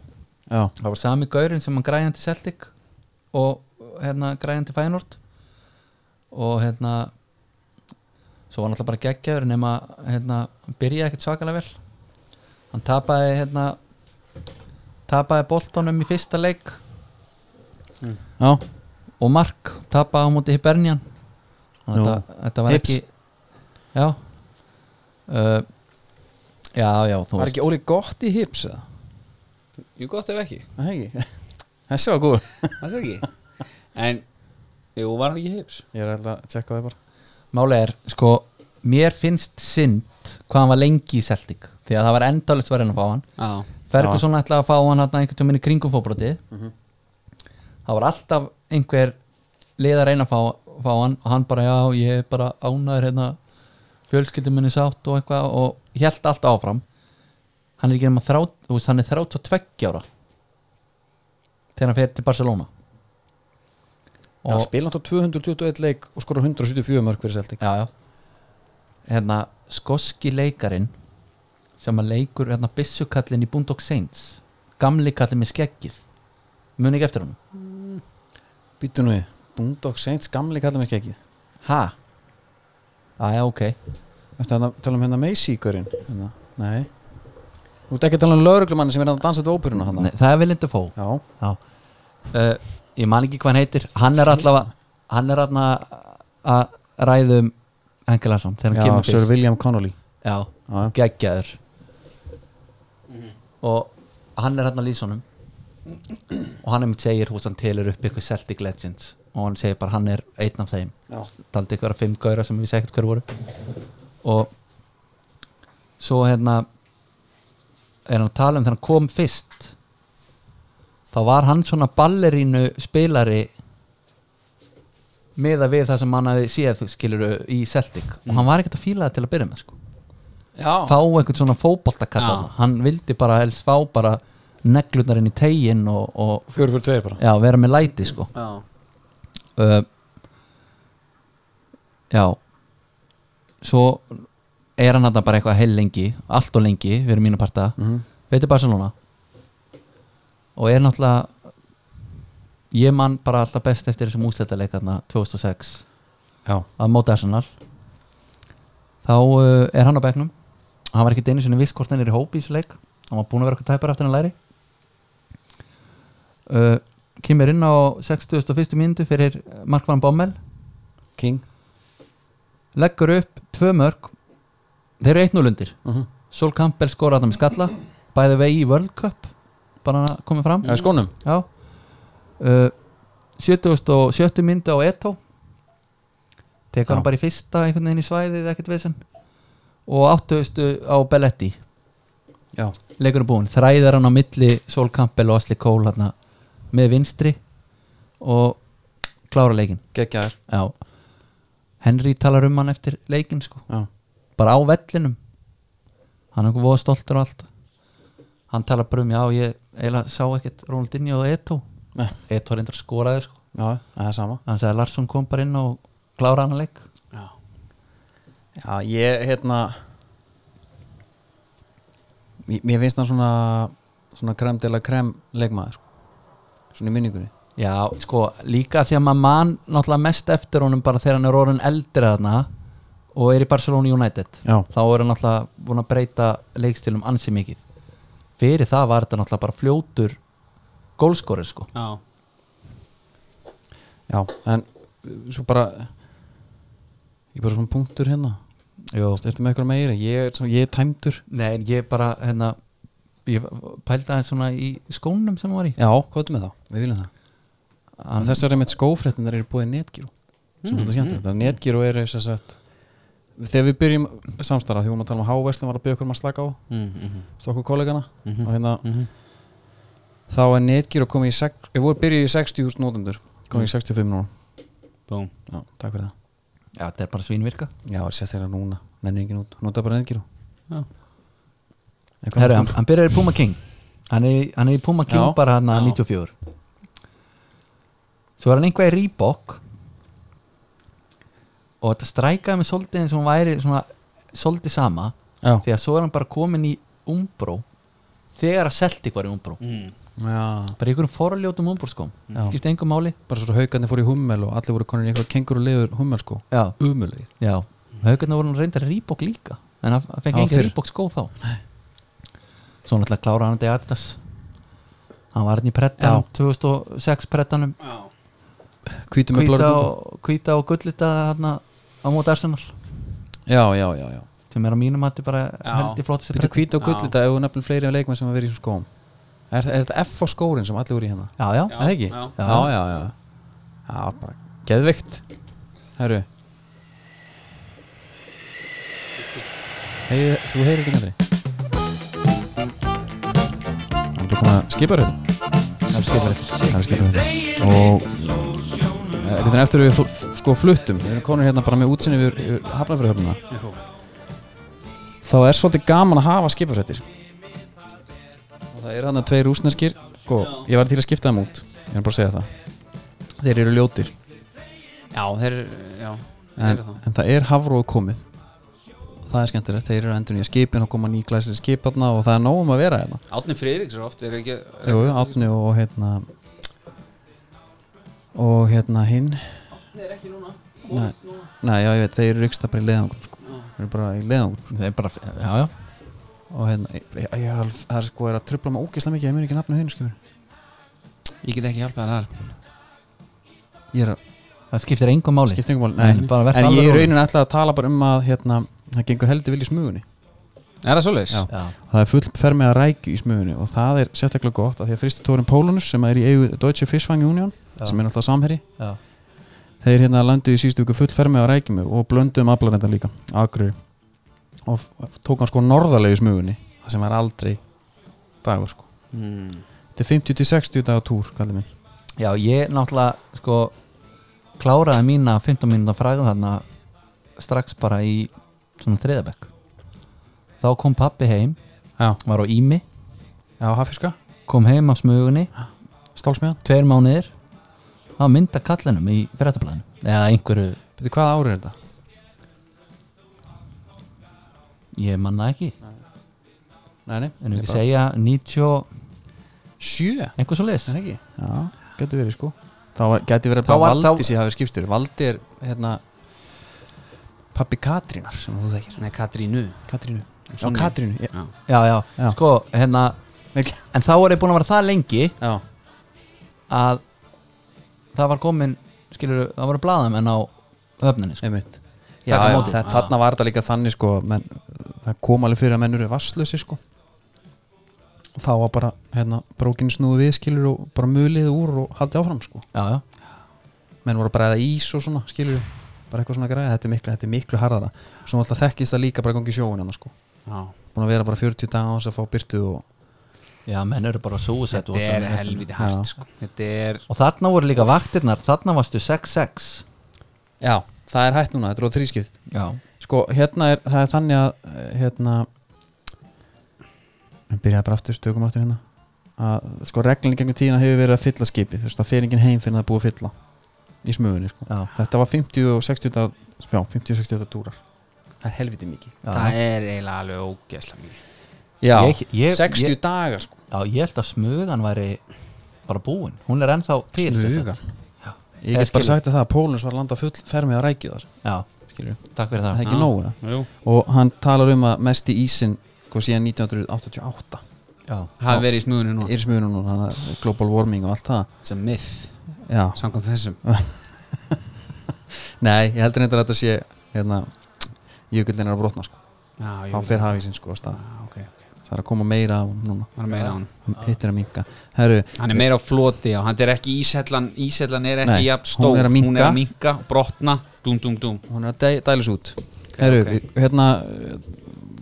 A: Já,
C: það var sami gaurinn sem hann græði hann til Celtic og hérna græði hann til fæinort og hérna svo var hann alltaf bara geggjaður nema hérna, hann byrjaði ekkert svakalega vel hann tapaði hérna tapaði boltanum í fyrsta leik
A: já,
C: og Mark tapaði á móti Hibernian Og
A: Nú.
C: þetta, þetta var
A: Hips.
C: ekki já uh, já, já, þú
A: var ekki Óli gott í hips eða?
B: jú gott ef ekki
A: Það ekki Þessi var góð
B: það er ekki en jú var hann ekki hips
A: Ég er að tjekka það bara
C: Máli er, sko, mér finnst synd hvað hann var lengi í Celtic því að það var endalist verið að fá hann
B: já
C: Ferguson ætlaði að fá hann hann einhvern tjóminni kringum fóbroti það var alltaf einhver lið að reyna að fá, fá hann og hann bara, já, ég er bara ánæður hérna, fjölskyldum minni sátt og eitthvað og held allt áfram hann er ekki nema þrát, þú veist, hann er þrát og ára þegar hann fer til Barcelona
A: Já, spila hann á 221 leik og skora 174 mörg fyrir Celtic
C: já, já. hérna skoski leikarin sem að leikur hérna byssukallin í Bundok Saints gamli kallin með skeggið muni ekki eftir hann
A: Býtu nú í Bundok Saints, gamli kallar mig ekki
C: ha? aðja ok
A: Ertu að tala um hérna Macy-görinn? Hérna? Nei Þú ert ekki að tala um lauruglumann sem er að dansa til óperuna hann
C: Nei, það er vel indi fó
A: Já,
C: já. Uh, ég man ekki hvað hann heitir hann er allavega hann er allavega að ræðum Hengi Larsson þegar hann
A: já
C: kemur
A: Sir
C: fyrst
A: William Connolly
C: já,
A: Já,
C: geggjaður og hann er hérna lýsonum og hann einmitt segir hús hann telur upp ykkur Celtic Legends og hann segir bara hann er einn af þeim
A: já.
C: taldi ykkur að fimm gauðra sem við segjum hver voru og svo hérna er hann að tala um þegar hann kom fyrst þá var hann svona ballerínu spilari meða við það sem hann hafi séð skilur í Celtic og hann var ekkert að fíla það til að byrja með sko
B: já
C: fá einhvern svona fótboltakall
B: Já.
C: hann vildi bara helst fá bara neglunar inn í tegin og, og
A: Fjögur fyrir tveir bara
C: já, vera með læti sko
B: já
C: uh, já svo er hann þarna bara eitthvað heil lengi allt og lengi fyrir mínu parta mm
B: Mhm.
C: -hmm. veitir Barcelona og er náttúrulega ég man bara alltaf best eftir þessum úsleitaleikana 2006
A: Já,
C: að móta Arsenal þá uh, er hann á bekknum hann var ekki einu sinni viss hvort hann er í hópi í þessu leik hann var búin að vera eitthvað tæpar eftir hann læri uh, kemur inn á 61. mínútu fyrir Markvann Bommel
A: King
C: leggur upp tvö mörg þeir eru 1-0 undir
A: uh -huh.
C: Sol Campbell skora þarna með skalla bæði vegi í World Cup bara hann komið fram
A: Já, í skónum
C: Já uh, 77 myndi á E Eto tekur hann
A: Já.
C: bara í fyrsta einhvern veginn í svæðið ekkert vesen og 80 á Belletti
A: Já,
C: leikur er búinn, þræðar hann á milli Sol Campbell og Asli Kól hérna, með vinstri og klára leikin
A: geggjaður
C: Já. Henry talar um hann eftir leikin sko
A: Já,
C: bara á vellinum hann er einhver voða stoltur og allt hann talar bara um já ég eiginlega sá ekkert Ronaldinho og Eto
A: Nei.
C: Eto reyndar skoraði sko
A: já, það er sama
C: hann sagði að Larsson kom bara inn og klára hann að leik
A: Já, já ég, hérna Mér mér finnst hann svona svona krem til að krem leikmaður sko. svona í minningunni
C: já sko líka því að maður man náttúrulega mest eftir honum bara þegar hann er orðin eldri þarna og er í Barcelona United
A: Já,
C: þá er hann náttúrulega búin að breyta leikstilum ansi mikið fyrir það var þetta náttúrulega bara fljótur gólskóri sko
B: já
A: já, en uh, svo bara ég er bara svona punktur hérna
C: Jó.
A: Ertu með eitthvað meiri? Ég er, svona, ég er tæmdur
C: Nei, en ég bara hérna ég pældi aðeins svona í skónum sem hann var í
A: Já, kóttu með þá, við viljum það
C: Hann-
A: Þessar er einmitt skófréttin þar eru búið netgíru sem mm, þetta skemmtilegt, mm. netgíru er þess að þegar við byrjum samstarra því hún
B: Mhm,
A: að tala um háverslum var að byrja okkur um að slaka á
B: mm -hmm.
A: stokku kollegana og hérna
B: Mhm.
A: þá er netgíra komið í sex, við vorum byrjuð í 60.000 nótendur komið í 65 núna Mhm.
B: Búm
A: já, takk fyrir það
C: Já, þetta er bara svínvirka
A: já, það er sérstaklega núna, nennir engin út nota bara netgíra
B: Já.
A: Eitthvað
C: Herra, hann,
A: annað?
C: hann byrjar í Puma King Hann er, í- hann er í Puma King
A: Já,
C: bara hérna hann
B: já.
C: að 94 Svo er hann einhvað í Reebok Og þetta strækaði mig svolítið eins og hann væri svona, svolítið sama
A: já,
C: Því að svo er hann bara komin í Umbro Þegar að selti var í Umbro
B: mm.
A: já
C: Bara í einhverjum forljótum Umbro sko
A: Já.
C: Gifti engum máli
A: bara svo haugarnir fóru í hummel og allir voru konur í eitthvað kenguru lifur hummel sko
C: Já,
A: umulegir
C: já Haukarnar voru hann reyndar Reebok líka En hann hann fekk
A: Já,
C: engin
A: fyrr.
C: Reebok skó þá Svo hann ætla að klára hann til Adidas Hann var hann í Preddan 2006 Preddanum
A: hvítu með
C: hvíta
A: blóra
C: og, hvíta og gullita hérna á móti Arsenal
A: já, já, já, já
C: sem er á mínum hætti bara
B: Já.
C: held í flóti sér
A: Býtu hvítu og
B: Já.
A: gull þetta ef þú nefnir fleiri af leikmenn sem hafa verið í svona skóm Er, er þetta F á skórin sem allir voru í hérna?
C: já, já,
A: Er það ekki?
B: já.
A: já, já, já. Já, bara geðveikt Herru hey, Þú heyrir ekki nefnir Það er komið að skipar þetta Það er skipar þetta Það er skipar þetta Og eh, Þetta er eftir að við fl- f- sko fluttum Við erum konur hérna bara með útsinni við, við hafnafyrirhöfnuna hérna. þá er svolítið gaman að hafa skipafrættir og það eru hann að tveir rúsneskir sko, ég var til að skipta þeim út ég er bara að segja það þeir eru ljótir
B: Já, þeir, já þeir
A: en,
B: eru það.
A: en það er hafróð komið og það er skemmtilegt, þeir eru endur nýja skipin og koma nýglæsir skiparna og það er nógum að vera hérna
B: Átni Friðriks er oft, er ekki
A: Jú, jú, Átni og hérna og hérna hinn
B: er ekki núna
A: Nei. Nei, já, ég veit, þeir eru yksta bara í leiðangum sko. þeir eru bara í leiðangum
C: það er bara, já, já
A: og hérna, ég, ég, ég, er alveg- það er sko er að trubla maður ógeðslega mikið, ég mun ekki nafnu hinn skipur
B: Ég get ekki hjálpað þar
A: ég er að
C: það skiptir engum máli
A: skiptir engum máli
C: Nei, bara vertu
A: en
C: alveg
A: ég er
C: rólegur.
A: raunin alltaf að tala bara um að hérna, það gengur heldur vilja í smugunni
B: Er það svoleiðis?
A: Já.
C: já,
A: það er full fermi að rækju í smugunni og það er sérstaklega gott að því að fristatórin Pólunus sem er í EU Deutsche Fischfang Union
C: Já.
A: sem er alltaf samherri
C: já,
A: þeir hérna landu í sístu viku full fermi að rækjum og blönduðum aflarenda líka agri og f- tók hann sko norðarlegu í smugunni það sem var aldrei dagur sko
B: Mm.
A: þetta er 50 til 60 dagar túr kallið minn
C: já, ég náttúrulega sko kláraði mína 15 mínúta fræðan þarna strax bara í svona þriðabekk þá kom pappi heim,
A: já,
C: var á Ími
A: já hafiska,
C: kom heim á smugunni,
A: stálsmiðan
C: tveir mánuðir það var mynd að kallinum í fyrirtablaðinu eða einhverju,
A: betur hvaða árið er þetta?
C: ég manna ekki
A: Nei, nei,
C: en
A: ég
C: við
A: bara-
C: segja 90 og
A: sjö
C: einhver svo
A: Er það ekki? Já, getur verið sko Þá var- gæti verið
C: Þá
A: bara
C: var- þá-
A: Valdi sem hafi skipstur Valdi er hérna Pappi Katrínar sem þú þekkir
B: Nei, Katrínu
A: Katrínu Já,
B: Sonju.
A: Katrínu Já,
B: Já
C: já, já,
A: Já.
C: sko, hérna
A: Mikl-
C: en þá er ég búin að vera það lengi
A: já,
C: að það var komin skilur, það voru blaðamenn á höfninni, sko.
A: einmitt Já,
C: Taka á
A: já
C: móti.
A: það, þarna var þetta líka þannig sko menn, Það kom alveg fyrir að menn eru vasslösi sko Og Þá var bara hérna Brókin snúið við skilur og bara mulið úr og haldið áfram sko
C: já, já,
A: menn voru að bræða ís og svona skilur bara eitthvað svona græða, þetta er miklu, þetta er miklu harðara svo alltaf þekkist það líka bara gangi sjóin annars sko
B: Já
A: búin að vera bara 40 dagar á þess að fá byrtuð og
C: já, menn eru bara súsett
B: Þetta er helviti
A: Já.
B: hægt sko Þetta er
C: og þarna voru líka vaktirnar, þarna varstu 6-6
A: Já, það er hægt núna, þetta er orðið þrískipt
C: já,
A: Sko, hérna er, það er þannig að eh, hérna við byrjaði bara aftur, tökum aftur hérna að sko reglinn í gegnum tíðina hefur verið að fylla skipið, þú veist, það fer enginn heim fyrir það er búið að fylla í smugunni, sko
C: já,
A: Þetta var 50 og 60 dag- já, 50 og 60 dúrar Það er helviti mikið
C: já.
B: Það er eiginlega alveg ógeðslega mikið
A: Já,
C: Ég- ég-
A: 60
C: ég-
A: dagar, sko
C: já, ég held að smugan væri bara búin, hún er ennþá til sem sagt.
A: Smugan Ég
C: Eða
A: get bara
C: skilur.
A: sagt að það að Pólunus var að landa full fermi á rækjuðar,
C: já,
A: skilur
C: takk fyrir
A: Það
C: það
A: er ekki
B: Já.
A: nógu, ja.
B: Jú
A: og hann talar um að mest í ísin hvað síðan 1988
C: já,
B: Hafi verið í smugunni núna
A: er smugunum núna, þannig að global warming og allt það
B: It's a myth
A: já,
B: Samkvæmt þessum
A: nei, ég heldur reyndar að þetta sé hérna, jökullin er að brotna sko.
B: Já, jú
A: þá fer hafísinn sko af stað.
B: Já, ok, ok
A: það er að koma meira á honum núna
B: Hann er meira á hann
A: Hann hittir að minka Herru,
B: Hann er meira á floti og hann er ekki íshellan Íshellan er ekki
A: Nei,
B: jafn stór
A: hún er að minnka.
B: Hún er að minka, brotna, dum dum dum
A: hún er að dæ- dælis út Herru,
B: ok.
A: okay. hérna eh,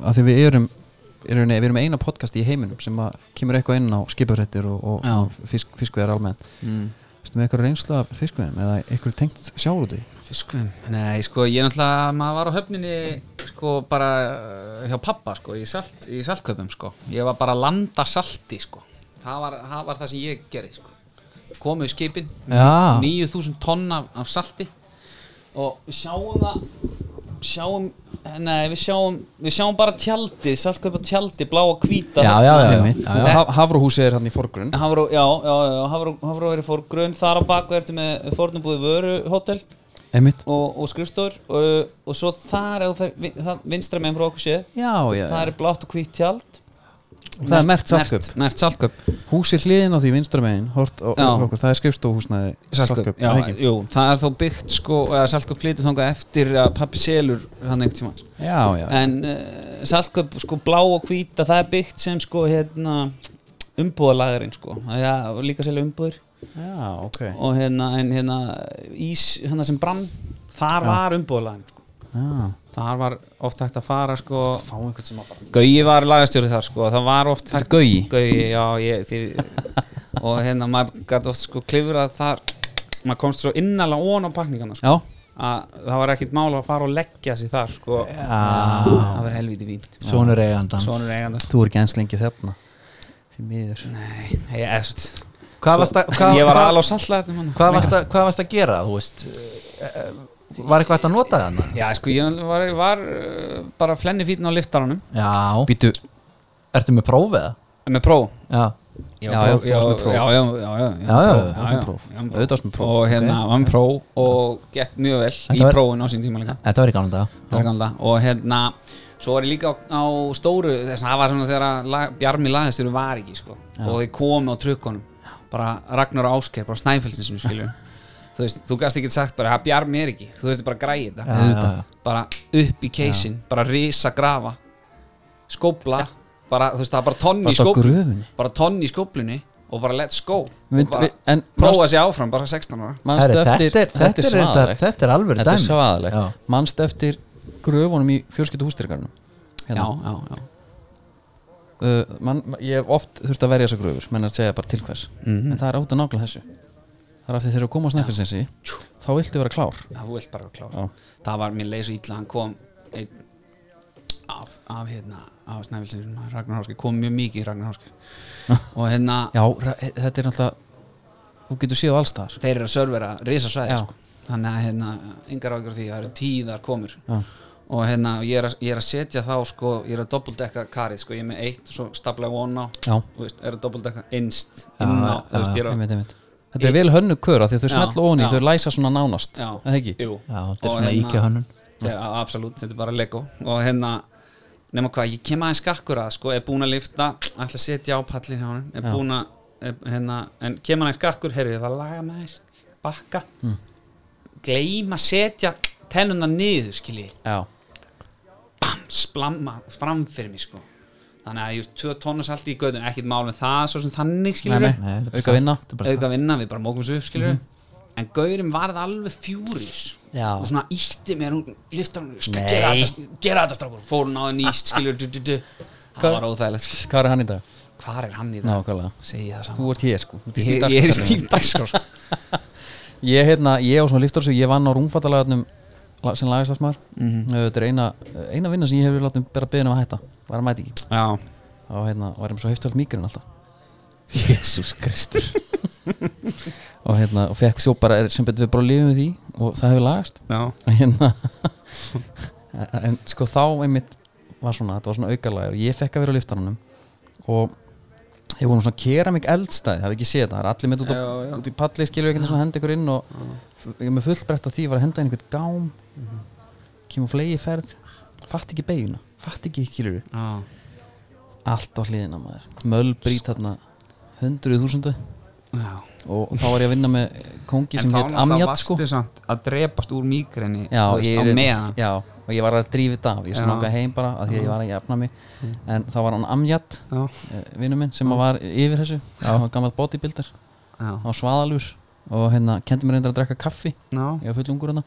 A: að því við erum er, nei, við erum eina podcast í heiminum sem að kemur eitthvað inn á skipafréttir og, og svona fisk, fiskvegar almennt
B: mm.
A: Vistu með eitthvað reynslu af fiskveðum eða eitthvað tengt sjáurúti
B: Fiskvim Nei, sko, ég náttúrulega, maður var á höfninni sko, bara uh, hjá pappa, sko, í, salt, í saltköpum, sko ég var bara að landa salti, sko það var það, var það sem ég gerði, sko komu í skipin,
C: Já.
B: 9000 tonn af, af salti og við sjáum það sjáum, nei, við sjáum við sjáum bara tjaldið, saltköpa tjaldið blá og hvíta
C: Já, já, já, já, já, já.
A: Hafruhúsi er hann í forgrunn
B: Hafró, já, já, já, Hafró, Hafró er í fórgrunn þar á baku ertu með fórnubúði vöruhótel
A: Einmitt
B: og, og skrifstofur og, og svo þar ef þú fer- vin- það- vinstra meginn frá okkur sé
A: Já, já,
B: það er blátt og hvítt tjald
A: það er mert saltköp
B: mert saltköp,
A: Húsi hliðin á því vinstra megin hort, og,
B: Já.
A: okkur, Það er skrifstofhúsnaði
B: saltköp.
A: er
B: Já,
A: það ekki?
B: jú, það er þá byggt sko, eða saltköp flytur þangað eftir að pappi selur hann einhvern tíma
A: já, já,
C: Eh.
B: en uh, saltköp sko blá og hvíta það er byggt sem sko hérna umbúðalagurinn sko Það er- já, líka selja umbúður
A: já, ok
B: og hérna, en, hérna ís hérna sem brann þar var umbúðalagurinn sko.
A: Já,
B: þar var oft hægt að fara sko
A: fá einhvern sem að bara
B: Gauji var lagastjóri þar sko, það var oft
A: Þetta er Gaui?
B: Gauji, já, ég, því, og hérna maður gæti oft sko klifrað þar, maður komst svo innala ón á pakningarna sko,
A: Já,
B: að það var ekkit mál að fara og leggja sig þar sko,
C: Já.
B: það var helviti fínt
C: Sónur eigandans
B: Svonur eigandast
A: þú er ekki eins lengi þarna Því miður
B: Nei, ég, eftir,
C: Hvað varst að- hvað-
B: ég var
C: hvað-
B: alveg á sallæðinu manna
C: hvað varst að- hvað varst að gera, þú veist Eh, eh, Var eitthvað hægt að nota þarna?
B: Já, sko, ég var, var uh, bara flenni fítin á liftaranum
C: Já,
A: Býtu,
C: ertu með prófið það?
B: með próf
C: Já,
A: Já,
B: Já,
A: já,
B: já, já,
A: þú varst með próf.
B: já, já, já, já,
C: Já, já,
B: próf,
C: já,
A: með próf.
B: já, já,
A: Auðvitað varst með próf.
B: Og hérna, var með próf og gekk mjög vel
C: Þetta
B: í
C: var-
B: prófun á sín tíma líka
C: þetta var í gamla daga
B: Það var gamla Og hérna, svo var ég líka á, á stóru Þess að það var svona þegar að lag, Bjarmi lagastur var ekki, sko Og þeir komu á trukkonum Bara Ragnar og Ásgeir, bara snæfelsninsinu, skiljum Þú veist, þú gast ekki sagt bara, að Bjarmi er ekki Þú veist, bara græði þetta
C: Já, já, já.
B: Bara upp í keisin, bara risa grafa Skópla Bara, þú veist, það var bara tonni
A: bara
B: í
A: svo
B: skópla
A: gröfunni
B: bara tonn í skóplunni og bara let's go
A: Mynd-
B: og bara
A: vi- en-
B: prófa sér áfram bara 16 ára
A: Manstu
C: Herri,
A: eftir,
C: þetta er- þetta er reyndar-
A: svaðalegt.
C: þetta er alvöru
A: Þetta er
C: dæmi.
A: svaðalegt.
C: Já.
A: Manstu eftir gröfunum í fjölskyldu hústyrkarnum Hérna.
B: já, já, já
A: uh, man, man- Ég hef oft þurft að verja þessar gröfur menn að segja bara til hvers En það er átt að nákvæmlega þessu Það er af því þegar þú koma á snæfilsensi Þá viltu vera klár
B: Já, þú vilt bara vera klár
A: Já.
B: það var mér leið svo illa hann kom einn af, af hérna af Snæfilsins Ragnar Háskir kom mjög mikið í Ragnar Háskir og hérna
A: Já, ra- he- þetta er náttúrulega Þú getur séð á alls þar
B: þeir eru að servera risasvæði
A: Já.
B: sko. þannig að hérna engar ágjör því það eru tíðar komur
A: Já.
B: og hérna ég er, að, ég er að setja þá sko ég er að dobbeldekka karið sko ég er með eitt og svo stapla von á
A: Já.
B: Þú veist, er að dobbeldekka innst inn á þú veist ég er að
A: einmitt, einmitt. Þetta er vel hönnu kör af Því að þau
B: Já,
A: smetla ofan í,
B: já.
A: þau læsa svona nánast
B: Já,
A: Eða ekki?
B: Jú.
C: Já, þetta er
B: Og hérna-
C: svona IKEA-hönnun.
B: Já, absolutt, þetta er bara Lego og hérna, nema hvað, ég kem aðeins skakkur að sko, er búin að lifta, ætla að setja á pallin hjá hann, er búin að er, hérna, en kem aðeins skakkur, heyrðu, það laga með aðeins bakka
A: Hm.
B: mm. gleima setja tennuna niður, skilji
A: Já,
B: splamma fram fyrir mig, sko þannig að ég veist, tvö tónus allt í göðun ekkert mál með það, svo sem þannig,
A: nei,
B: skilji
A: nei,
C: Nei, þetta er bara
A: auka vinna
C: Þetta er bara
B: auðvitað vinna, við bara Mhm. mókumst upp, skilur en gaurin varð alveg fjúris
A: Já.
B: og svona ítti mér úr liftanum, skal gera þetta, gera þetta strákur fór hún á það nýst, skilur du, du, du. það var óþægilegt,
A: Hvað er hann í dag?
B: hvar er hann í það
A: Nákvæmlega
B: segi ég það saman,
A: Þú ert hér sko Þú ert í
B: ég, ég er í
A: dagskrárkerfinu.
B: stíf dagskrá sko.
A: Ég, hérna, ég á svona liftarsu, ég vann á rúmfattalagarnum sem lagastafsmaður Þetta er eina, eina vinna sem ég hefur látið bara beðin um að hætta var að mæti ekki
B: já,
A: og hérna var ég með svo heftöld mýgrinn alltaf
C: Jésús Kristur
A: og hérna og fekk svo bara er- sem betur við bara lifum við því og það hefur lagast
B: já,
A: og hérna en sko þá einmitt var svona, þetta var svona aukalagur ég fekk að vera á liftarunum og þeir voru svona keramik eldstæði það hef ekki séð þetta, það er allir með út, á,
B: Já, já.
A: út í palli skilur ekki svona henda ykkur inn og ég er með fullt brett af því var að henda inn einhvern gám
B: Mhm.
A: kemur flegi ferð fatt ekki beiguna, fatt ekki skilur
B: já.
A: allt á hliðina maður, möll brýt þarna hundruð þúsundu
B: já.
A: og þá var ég að vinna með kongi sem
B: en þá
A: hétt Amjad
B: náttúrulega
A: sko
B: varstu samt að drepast úr mígreni
A: já,
B: þú veist, á
A: er-
B: meðan
A: já, og ég var að drífa þetta af ég
B: Já. Mm.
A: snokka heim bara að því að ég var að jafna mig en þá var hann Amjad
B: já,
A: vinnu minn
B: Mm.
A: sem var yfir þessu hann var gammal bodybuilder,
B: já,
A: hann var svaðalur og hérna, kendi mér reyndar að drekka kaffi
B: já,
A: ég var fullungur hérna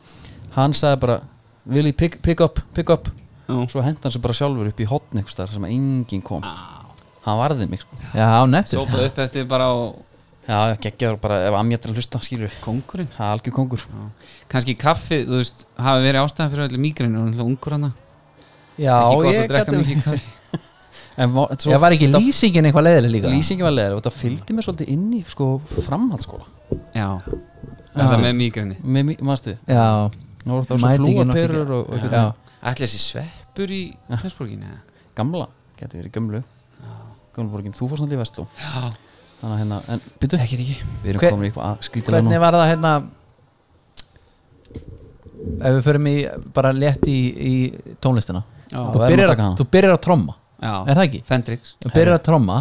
A: hann sagði bara Willi, pick, pick up, pick up
B: Já.
A: svo hendi hann sér bara sjálfur upp í hotn einhvers þar sem að enginn kom hann varði mig sko.
C: já, á nettur
B: Sópað upp eftir bara á
A: já, geggjaður bara ef amjættir að hlusta skilur
B: kongurinn
A: það er algjör kongur
B: Kanski kaffi, þú veist, hafi verið ástæðan fyrir öllu mígrinu og náttúrulega ungur hana
A: já,
B: Ekki gott að
A: ég
B: drekka
A: gæti
B: mikið kaffi
A: en var, svo,
C: Já, var ekki lýsingin eitthvað leiðileg líka?
A: lýsingi var leður og það fylgdi mér svolítið inn í sko, framhaldsskóla
B: Já, það með mígrini
A: með mi- manstu
C: Já,
A: nú voru það svo
C: Mætingin
A: flúa
C: átti ekki-
A: perur og, hérna- og
C: já,
B: Ætli þessi sveppur í Flensborginni eða?
A: gamla geti verið gömlu gömlu borgin, þú fórst náttúrulega í vestló
B: Já,
A: þannig að hérna, en byrju,
B: ekki ekki
A: við erum
C: Hver-
A: komin í eitthvað skrítilega
C: hvernig var það hérna ef við förum í bara létt í, í tónlistina
B: Já.
A: Það er
C: þú
A: nú
C: byrjar,
A: að taka
C: að,
A: hana.
C: þú byrjar að tromma er
B: Já,
C: það ekki?
B: Fendrix
C: þú byrjar að tromma,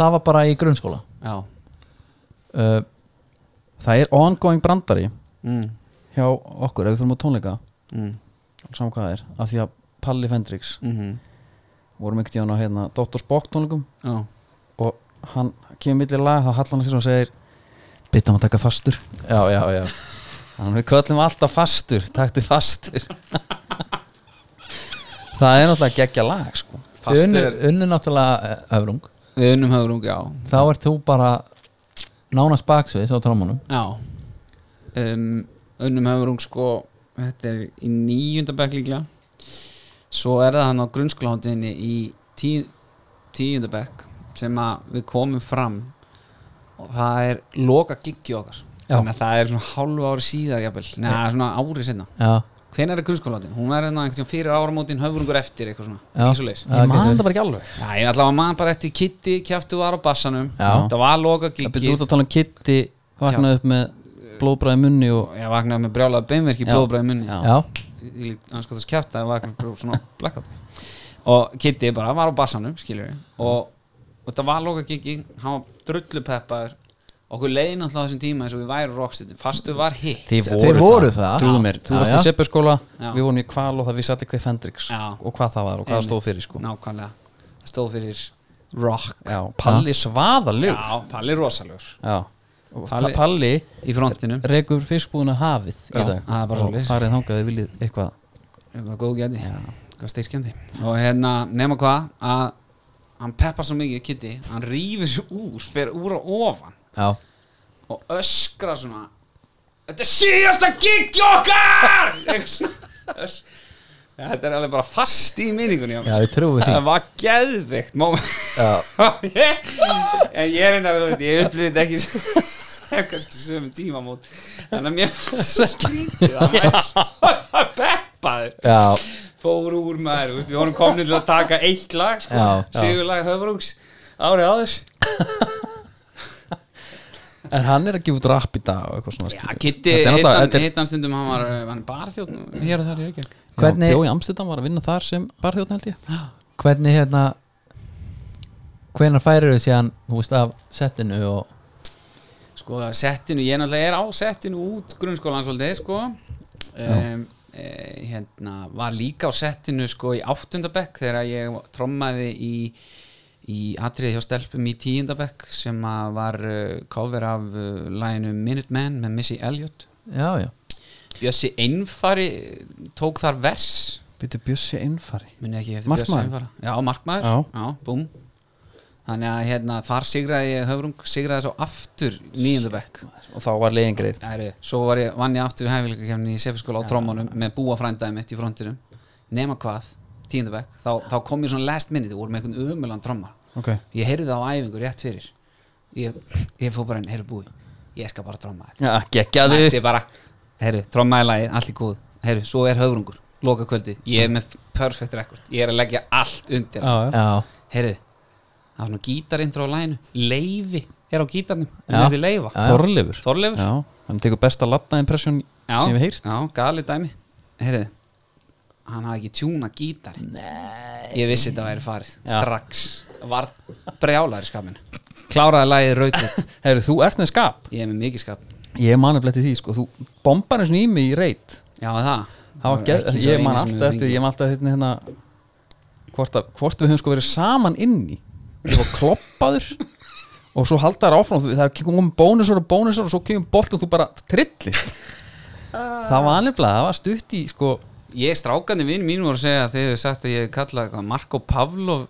C: það var bara í grunnskóla
B: Já
C: uh,
A: það er ongoing brandari
B: mm.
A: hjá okkur ef við fyrir á tónleika
B: Mm.
A: saman hvað það er, af því að Palli Fendrix
B: Mm
A: vorum ekkert í hann á hérna Dr. Spock tónleikum
B: Já
A: og hann kemur millir lag, þá hallar hann sér og segir byrja hann að taka fastur
C: já, já, já
A: þannig að við köllum alltaf fastur takti fastur það er náttúrulega geggja lag sko.
C: Þið unnu,
B: Fastur
C: unnu náttúrulega eh, höfrung
B: Við unnum höfrung, já
C: þá ert þú bara nánast baksviðs á trommunum
B: Já um, Unnum höfrung, sko Þetta er í níunda bekk líklega Svo er það hann á grunnskólaháttinni í tí, tíunda bekk sem að við komum fram og það er loka giggi okkar
A: Já.
B: þannig að það er svona hálfu ári síðar jafnvel, neða svona ári sinna
C: já, hvenær
B: hvenær er grunnskólaháttin? Hún var hérna einhvern tímann fyrir áramótin höfrungur eftir eitthvað svona,
C: Já.
B: ekki svo leis
C: Já,
A: ég man
C: getur
A: þetta bara ekki alveg
B: Já, ég ætla að maður bara eftir Kitty kjæftu var á bassanum
C: Já.
B: Það var loka
A: það byrja út
B: gigið
A: að tala um Kitty vaknaði upp með blóðbræði munni og
B: Ég vaknaði með brjálaða beinverki
A: Já.
B: blóðbræði munni
A: Já.
C: já,
B: Ég líkt anskotast kjæft að ég vaknaði bara svona blackout Og Kitty bara var á bassanum, skilur við og, og það var loka gigið, hann var drullu peppaður Okkur leiðin alltaf þessum tíma eins og við væri rockstundum Fastu var hitt
A: þið
C: Þið voru það.
A: trúðu mér,
C: Já,
A: þú varst í
C: já.
A: seppaskóla
B: Já.
A: við vorum í kval og það við sattum hvað Fendrix
B: Já.
A: og hvað það var og hvað það stóð fyrir sko.
B: Nákvæmlega, það stóð fyrir rock
A: já, Palli svaðalug já.
B: Já, Palli rosalur
A: Og Palli,
B: Palli-
A: Mm. Palli
B: Í frontinum,
A: rekur fiskbúðuna hafið í
B: Já,
A: dag
B: það er bara
A: og
B: svoleiðis.
A: farið þangað ef þið viljið eitthvað
B: eitthvað góð gæti eitthvað styrkjandi og hérna nema hvað að hann peppar svo mikið Kitty hann rýfur sér úr, fer úr á ofan
C: já,
B: og öskra svona þetta er síðasta gig okkar Eitthvað svona, ös- þetta er alveg bara fast í minningunni hjá mér.
C: já, við trúum því
B: það var geðveikt moment
C: já,
B: Ég- en ég er einnig að ég upplifði þetta ekki sem- kannski sömu tímamót þannig að mér fannst svo skrítið að maður peppaður
C: já,
B: fór úr maður, þú veist, við vorum komin til að taka eitt lag, sko,
C: Já, já.
B: sigurlag höfrungs árið áður
A: en hann er að gefa út rap í dag og eitthvað svona
B: Já,
A: skilur.
B: Kitty,
A: Þetta er náttúrulega- þetta er-
B: hitt hann stundum hann var, eh, hann barþjótt hér og þar í Reykjavík
C: Hvernig-
A: Já, Bjó í Amsterdam var að vinna þar sem barþjóðn held ég
C: hvernig hérna hvenar færir þau síðan þú veist af settinu og
B: sko, settinu, ég náttúrulega er á settinu út grunnskólan svolítið, sko um, e, hérna var líka á settinu, sko, í áttundabekk þegar ég trommaði í í atriði hjá stelpum í tíundabekk sem að var uh, cover af uh, læginu Minuteman með Missy Elliott
C: já, já,
B: Bjössi Einfari eh, tók þar vers
A: byrju Bjössi einfari
B: muni ekki eftir
A: Markmaður?
B: Bjössi Einfara Já, markmaður,
A: Já.
B: já, búm Þannig að hérna, þar sigraði ég höfrung sigraði svo aftur nýjöndu bekk
A: og þá var leiðin greið
B: Æru, Svo var ég, vann ég aftur hæfileikakefni í sefaskóla á trómanum með búa frændaði mitt í frontinum nema hvað, tíundu bekk þá, þá kom ég svona last minute, voru með einhvern umulan trommar
A: okay.
B: ég heyrði það á æfingu rétt fyrir ég, ég fór bara inn, heyrðu búi ég skal bara tromma þetta
A: ja, geggjaðu
B: Mætti bara, herru, trommaði lagið, allt í góð Herru, svo er höfrungur, loka kvöldi Ég er með perfect record, ég er að leggja allt undir
A: Já, já.
C: já,
B: Herru, það var nú gítarindra á laginu Leifi, er á gítarnum Við
C: Já.
B: nefnir leifa,
C: Já.
A: Þorleifur
B: Þorleifur
A: Já, hann tekur besta latta impression
B: Já,
A: sem við heyrst
B: já, galið dæmi Herru, hann hafði ekki tjúna gítari Nei Ég vissi þetta væri farið, strax Var brjálæri skapinu Kláraði lagið rautið
A: Heyrðu, þú ert með skap
B: Ég er með mikið skap
A: Ég man eftir því, sko, þú bombar eins og í mig í reit
B: Já, það
A: Það var
B: ekki
A: geð,
B: sá
A: ég
B: eini
A: man
B: sem
A: alltaf eftir,
B: fengið.
A: ég man alltaf eftir hérna hvort, að, hvort við höfum sko verið saman inni Ég var kloppaður og svo halda þær áfram, þú- það er kemur um bónusar og bónusar og svo kemur bolt og þú bara trillist Það var alveg, það var stutt í, sko
B: ég strákandi vinn mín voru að segja að þið hefur sagt að ég hef kallað eitthvað Marko Pavlov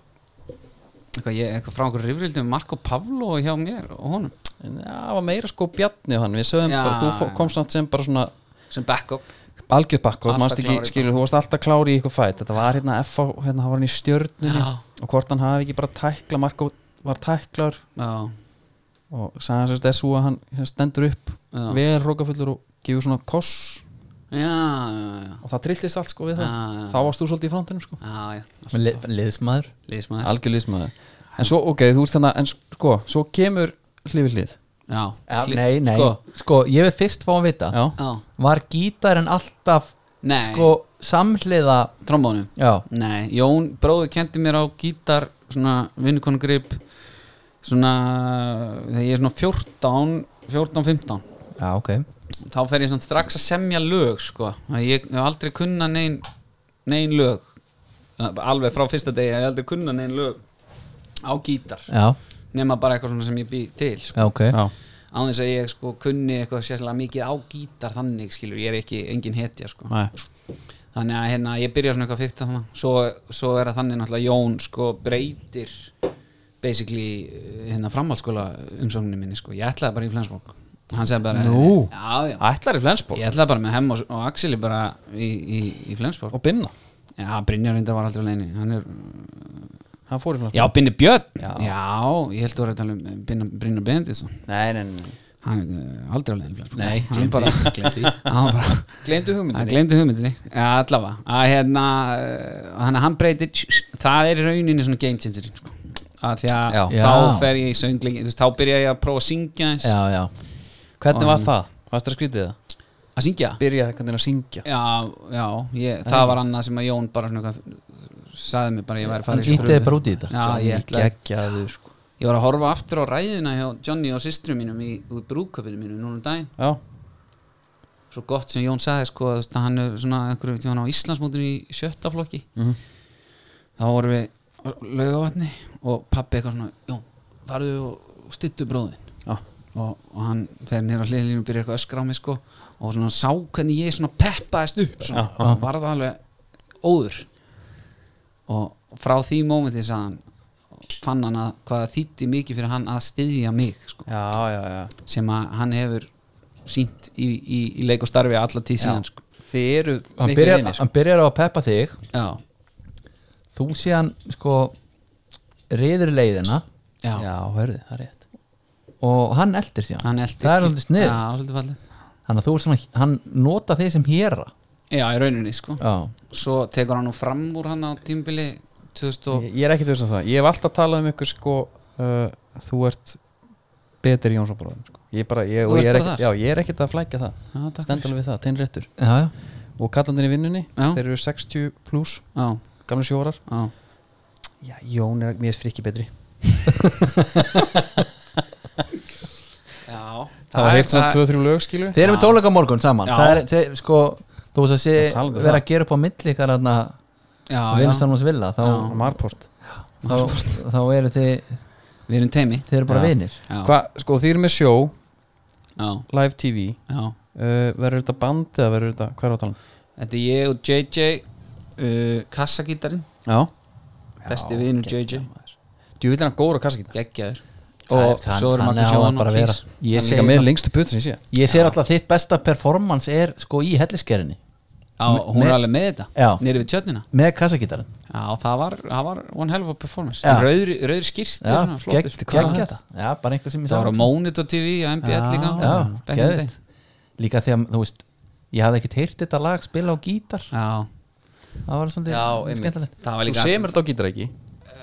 B: eitthvað, ég, eitthvað frá einhverjum rifrildum Marko Pavlov hjá mér og honum
A: En það var meira sko bjarni hann Við sögum
B: Já,
A: bara, þú fó-
B: já.
A: komst nátt sem bara svona
B: sem backup
A: algjörð bakkvöld,
B: Alltaf
A: mannst ekki,
B: klár í
A: skilur, þú varst alltaf klári í eitthvað fætt, þetta var hérna F, hérna það var hann í stjörnunni
B: Já.
A: og hvort hann hafi ekki bara tækla, Marko var tæklar
B: já,
A: og sagði hans er svo að hann sem stendur upp
B: já, já,
A: vel rókafullur og gefur svona koss
B: já, já.
A: og það trillist allt sko við það,
B: Já, já.
A: þá varst þú svolítið í frontinum sko
B: já, já.
C: Le liðsmaður
B: Liðsmaður
A: algjörlismæður, en svo, ok, þú ert þannig en sko, svo kemur hlifið hlið
B: já, Hlý-
C: Nei, nei,
B: sko,
C: sko, ég vil fyrst fá að vita
A: já,
B: já,
C: Var gítarinn alltaf
B: nei,
C: sko, samhliða
B: trombónum
C: Já,
B: Nei, Jón bróður kendi mér á gítar svona vinnukonugrip svona þegar ég er svona 14 14-15
C: já, ok
B: þá fer ég svona strax að semja lög sko. Að ég hef aldrei kunna nein nein lög alveg frá fyrsta degi hef ég aldrei kunna nein lög á gítar
C: Já,
B: nema bara eitthvað svona sem ég bý til sko.
C: já, ok
A: já,
B: á þess að ég sko kunni eitthvað sérlega mikið á gítar þannig skilur, ég er ekki engin hetja sko
A: næ,
B: þannig að hérna, ég byrja svona eitthvað fyrta þannig svo, svo er að þannig náttúrulega Jón sko breytir basically hérna framhaldsskóla umsókninu minni sko, ég ætlaði bara í Flensborg hann segði bara
A: Nú.
B: já, já.
A: ætlar í Flensborg
B: ég ætlaði bara með hemm og, og Axeli bara í, í, í Flensborg
A: og Binna,
B: já, Brynjar reyndar var aldrei leini hann er,
A: hann fór í Flensborg
B: já, Binni Björn
A: Já.
B: já, ég held að voru að tala um Binna- Brynjar Bendisson
A: nei, nei, nei,
B: hann er eh, aldrei leini Flensborg
C: Nei,
B: hann bara,
C: glemdi því.
B: hann bara
A: gleyndu
B: hann
A: hugmyndinni
B: glemdi hugmyndinni ja, allavega að hérna hann, hann breytir það er í rauninni svona game changer sko. að því að
A: Já.
B: þá
C: Já.
B: fer ég í söngling þú veist, þá byrja ég að prófa að syngja eins
C: Já, já,
A: hvernig var það, hvað er skrítið það?
B: að syngja
A: byrja einhvern veginn að syngja
B: já, já ég, það var annað sem að Jón bara svona eitthvað sagði mér bara að ég væri
C: hann
B: farið í
C: ítti
B: prufu.
C: bara út í þetta
B: já, ég, ætla,
A: geggjaðu sko
B: ég var að horfa aftur á ræðina hjá Johnny og systrum mínum í, í brúköpinu mínu núna um daginn
A: já,
B: svo gott sem Jón sagði sko, þú veist, að hann er svona einhverjum tíma á Íslandsmótinu í sjötta flokki
A: Mhm.
B: þá vorum við á laugavatni og pappi eitthvað svona Jón, farðu og stuttu bróðin
A: já,
B: og, og hann fer nýra hliðlínu og byrjar eitthvað að öskra á mig sko og svona sá hvernig ég svona peppaðist upp svona,
A: Já,
B: og var það alveg óður og frá því mómenti sagði hann fann hann að hvað það þýtti mikið fyrir hann að styðja mig sko
A: já, já, já.
B: sem að hann hefur sínt í, í, í leik og starfi alla tíð síðan sko.
A: þið eru
C: Hann
A: miklu
C: byrjar,
A: vinir, sko.
C: hann byrjar á að peppa þig
B: já,
C: Þú síðan, sko reyður leiðina
B: já,
A: já, hörðu, það er rétt
C: og hann eldir síðan
B: hann eldi
C: Það er alveg snið
B: já, svolítið fallið
C: Þannig að þú er svona, hann nota þig sem héra
B: já, í rauninni sko
C: Já,
B: svo tekur hann nú fram úr hann á tímbili 2000 og
A: ég, ég er ekki tvist um það, ég hef alltaf talað um ykkur sko, uh, þú ert betri Jónsson sko. ég, bara, ég,
B: Þú
A: og
B: ert
A: ég, er
B: bara
A: ekkert-
B: þar?
A: já, ég er ekkert að flækja það
B: já, takk
A: stend
B: fyrir.
A: alveg við það, teinn réttur
C: já, já
A: og kallandin í vinnunni,
B: Já.
A: þeir eru 60 pluss
B: já,
A: gamle sjórar,
B: já,
A: já, Jón er mér er frikki betri
B: já
A: það var heilt svona 2-3 lög skilur
C: Þeir eru með tónleika á morgun saman
B: Já.
C: Það er, þeir, sko, þú veist að sé
A: Já, talandi um
C: vera
A: það.
C: að gera upp á milli ykkar þarna
B: já, já.
C: vinnustanum hans vilja þá,
A: og Marport
C: þá, þá eru þið,
B: við erum teimi
C: þið eru bara
A: Já.
C: vinir
B: já,
A: Hva, sko, þið eru með sjó,
B: já,
A: live tv
B: já
A: uh, verður þetta band eða verður þetta, hvað er á talan?
B: þetta er ég og JJ uh, kassagítarinn
A: já
B: besti vinur JJ
A: Djú vil hann góður á kassakýta
B: geggjaður
C: Það er-
B: og
C: það-
B: svo erum
C: þannig
B: við
C: á það
B: sjóðan
C: bara
B: og
C: að vera.
B: kís
A: Ég
C: Ég
A: er
C: segi
A: líka með
C: náttúrulega-
A: lengstu putin sem ég sé
C: Ég segir alltaf að þitt besta performance er sko í helliskerinni
B: Já, hún
C: Me-
B: er alveg með þetta,
C: Já.
B: nýri við tjötnina
C: með kassagítarinn
B: Já, það var, það var one hell of a performance
C: Já.
B: Rauðri, rauðri skýrt
C: Já, gegg gegg þetta Já, bara einhver sem ég
B: Það var á
C: sagði
B: Monitor TV og MBL
A: Já.
B: líka
C: Já,
B: back in the day.
C: geðvitt Líka því að, þú veist, ég hafði ekkert heyrt þetta lag spila á gítar
B: Já,
C: Það var svolítið skemmtilegt
B: það var
A: Þú
B: líka
A: semur þetta á gítar ekki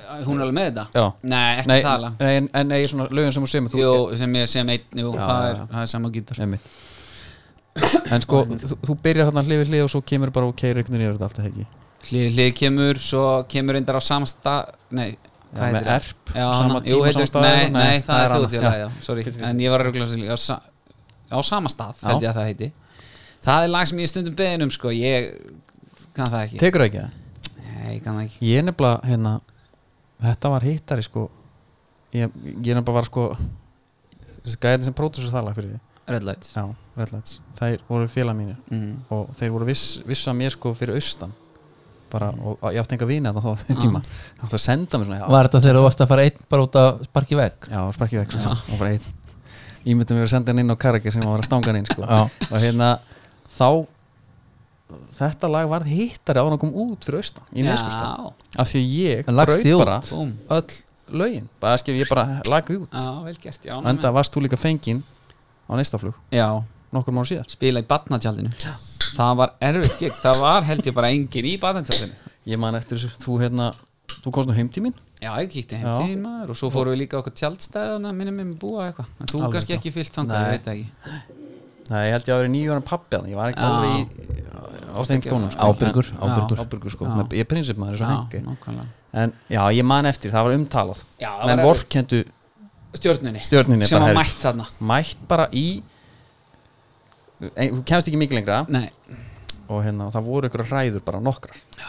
B: Eh, Hún er alveg með þetta?
A: Já.
B: Nei, ekki
A: Nei,
B: tala
A: nei, en, en nei, svona lögum sem þú semur þú
B: Jú, sem ég sem einn, jú,
A: Já,
B: það
A: já,
B: er,
A: já.
B: það er sama gítar
A: Einmitt. En sko, þú, þú byrjar hann að hlifi hlið og svo kemur bara og keirir einhvern veginn yfir þetta alltaf ekki
B: Hlið, hlið kemur, svo kemur reyndar á sama stað Nei,
A: Já, með
B: það?
A: erp,
B: Já,
A: sama
B: hana-
A: tíma,
B: jú,
A: sama
B: heitir,
A: stað,
B: nei,
A: nei,
B: nei, það
A: það
B: er
A: er annað.
B: þjóðtjóðlega,
A: Já.
B: sorry
A: Fyrir-
B: En ég var að ruggla á, sa- á sama stað, held ég að það heiti Það er lag sem ég er stundum beðin um, sko Ég kann það ekki
A: Tekur það ekki það?
B: Nei, ég kann það ekki
A: Ég er nefnilega, hérna Þetta var hittari sko Ég, ég nefnilega var sko Þessi gæðin sem pródusur það lag fyrir því
B: Red Lights
A: já, Red Lights þær voru félag mínir
B: mm.
A: og þeir voru viss, vissu að mér sko fyrir austan bara, og ég átti enga vina þannig þá á þeim tíma þá átti að senda mér svona já,
C: Var þetta þegar þú varst að fara einn bara út að sparki vegg?
A: já sparki vekk svona, og bara einn ég myndi mér að senda hann inn á karakir sem var að stanga hann inn sko.
C: Já,
A: og hérna þá þetta lag varð hittari á hann að koma út fyrir austan í neskustan, af því ég
C: En lagst
A: braut
C: þig út?
A: bara
B: Búm
A: öll lögin bara skil ég bara lagði út
B: Já, vel gert, já
A: og enda varst þú líka fenginn á næsta flug
B: Já,
A: nokkur mánu síðar
B: spila í batnatjaldinu Það var erfitt gig Það var held ég bara engin í batnatjaldinu
A: ég man eftir þessu, þú hérna þú komst nú heim til mín
B: Já, ég kíkti heim
A: Já.
B: til þín maður og svo fórum við líka á okkur tjaldstæðana minnum við með búa eitthvað, en þú
A: Alveg,
B: kannski
A: já.
B: ekki fyllt þangað,
A: Nei.
B: ég veit það ekki
A: Nei, ég held ég að vera nýjóran pappi að ég var ekki
B: Já.
A: alveg í, á þeim skónum sko.
C: Ábyrgur,
A: En-
C: ábyrgur.
A: Já, ábyrgur sko.
B: Já.
A: Með- ég er prinsip maður svo
B: Já,
A: hengi
B: nákvæmlega
A: en já, ég man eftir, það var umtalað
B: Já, það
A: menn
B: var erfitt.
A: vorkendu
B: Stjörnunni,
A: Stjörnunni
B: sem
A: bara,
B: var
A: herri.
B: mætt þarna
A: mætt bara í ein, þú kemst ekki mikið lengra
B: Nei,
A: og hérna, það voru ykkur ræður bara nokkrar
B: það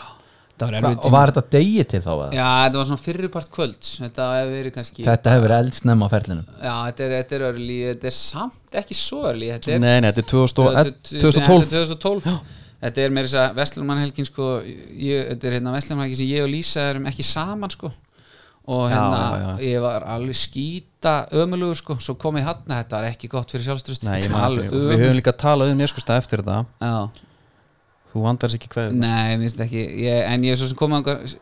B: var
C: Va-
B: erfið
C: og var þetta degi til þá? eða?
B: Já, þetta var svona fyrrupart kvölds Þetta hefur verið kannski
C: Þetta hefur verið eldsnemma á ferlinu
B: Já, þetta er, þetta er örli, þetta er samt ekki svo örli Þetta er
A: nei, nei, þetta er 2000
B: þetta er- þetta
A: 2012
B: er 2012 Þetta er meira þess að Vestlumannhelgin sko, ég, þetta er hérna Vestlumannhelgin sem ég og Lísa erum ekki saman sko og
A: Já,
B: hérna
A: já, já.
B: ég var alveg skýta ömulugur sko, svo kom ég hann þetta var ekki gott fyrir sjálfströst
A: Nei, ég man eftir, því. við höfum líka talað um neskust eftir þetta
B: Já,
A: þú vandar ekki hverju
B: nei, minnst ekki ég, en ég er svo sem komið einhver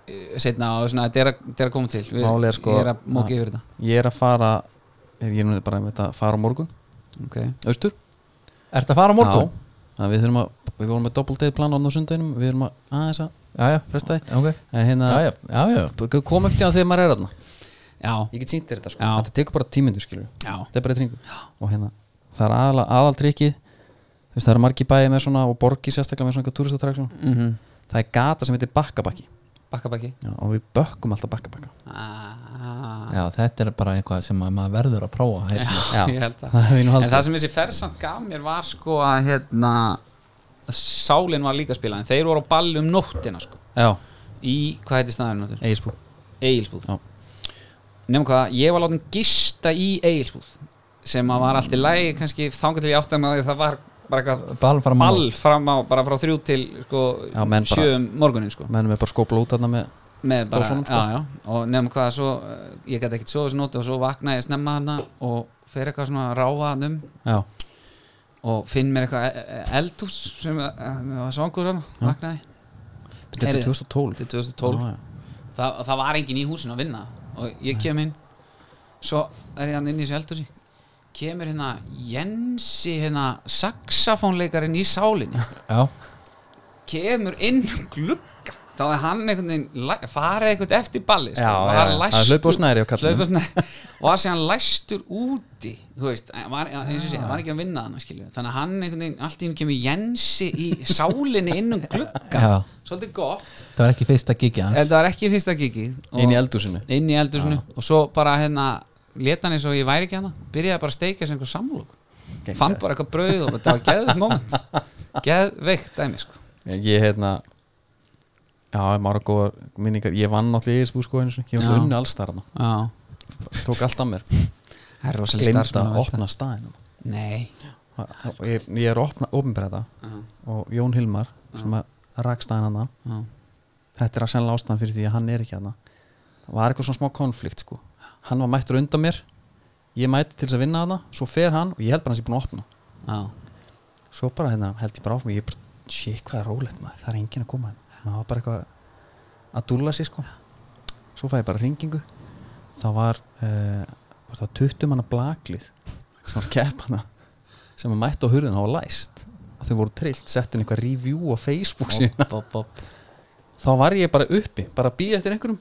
B: setna og svona, þetta er að- þetta er að koma til við,
A: Málið er, sko,
B: ég er að móki yfir þetta
A: ég er að fara er ég er nú bara með þetta að fara á morgun
B: okay.
A: austur
C: Ertu að fara á morgun?
A: Já, þannig að við þurfum að við vorum með doppeltið plan á sundaginum við erum að aðeins að
C: Já, já,
A: fresta því
C: ok
A: en hérna,
C: Já, já, já, já
A: bara kom ekki að þegar maður er aðna
B: Já,
A: ég get sýnt þér þetta sko,
B: Já.
A: þetta tekur bara tímindu skilur
B: já,
A: þetta er bara tringu og hérna, það er aðal, aðaldrykkið þú veist, það eru margi bæði með svona og borgi sérstaklega með svona turistattraksjón
B: mm -hmm.
A: það er gata sem heitir bakkabakki
B: bakka bakki
A: Já, og við bökkum alltaf bakkabakka
B: ah,
C: Já, þetta er bara eitthvað sem að maður verður að prófa heyrðu mér.
A: Já.
B: Ég held það
A: það hefur ég nú
B: En það
A: haldið
B: sem þessi fersamt gaf mér var sko að hérna Sálin var líka að spila en þeir voru á ball um nóttina sko
A: já,
B: Í, hvað heiti staðurinn áttur?
A: eigisbú
B: Egilsbúð
A: Já.
B: Nefnum hvað, ég var látin gista í Egilsbúð Sem að var allt í lægi kannski þangað til ég átti að það var bara eitthvað
C: Ball fara mál
B: Ball fram á, bara frá þrjú til sko,
A: Já, menn bara-
B: sjö um morgunin sko
A: mennum við bara skópla út þarna með
B: með bara,
A: Dósunum, sko.
B: já, já, og nefnum hvað svo, eh, ég gæti ekkert svo þessu nóti og svo vakna ég snemma hana og fer eitthvað svona að ráfa hann um
A: já,
B: og finn mér eitthvað e- e- eldhús sem að- að- að var svangur hann, vaknaði
A: þetta er
B: Heyrðu,
A: 2012
B: til 2012
A: Já, já.
B: Þa, það var engin í húsinu að vinna og ég kem inn svo er ég hann inn í þessu eldhúsi kemur hérna Jensi hérna saxafónleikarin í sálinni
C: Já,
B: kemur inn um glugga þá er hann einhvern veginn læ- farið einhvern eftir balli sko.
A: Já,
B: Var
A: já, já.
B: læstur-
A: Að hlaupa á snæri á kallinum.
B: Hlaupa á snæri. og var síðan læstur úti þú veist, en var, eins og sé, hann var ekki að vinna hann þannig að hann einhvern veginn, allt í hennu kemur Jensi í sálinni inn um glugga
C: Já.
B: svolítið gott,
C: það var ekki fyrsta gigi hans
B: þetta var ekki fyrsta gigi
A: inn í eldúsinu
B: inn í eldursinu og svo bara hérna leta hann eins og ég væri ekki hana byrjaði bara að steikja sem einhver samlók
A: Geggjað.
B: fann bara eitthvað brauð og þetta var geðveikt moment geðveikt dæmi sko
A: ég hérna já, ég maður góðar minningar ég vann náttúrulega í Eiríksbú sko einu sinni. ég var
B: Já.
A: unni alls þarna,
B: Já.
A: tók allt að mér
B: Það er rosalega
A: glemd að
B: starfsmanna
A: opna staðin
B: Nei
A: ég, ég er að opna ofinbreða og Jón Hilmar sem að rak staðin hana þetta er að sennilega ástæðan fyrir því að hann er ekki hana það var eitthvað svona smá konflikt sko hann var mættur undan mér ég mætti til þess að vinna hana, svo fer hann og ég held bara hans ég búin að opna svo bara hérna held ég bara áfram ég bara, shit hvað er rólegt maður, það er enginn að koma hérna maður var bara eitthvað að dúlla sér sko svo fæ ég bara hringingu það var, uh, var það 20 manna blaklið sem var keppana sem að mættu á hurðin hafa læst og þau voru trillt, settin eitthvað review á Facebook síðan þá var ég bara uppi, bara að býja eftir einhverjum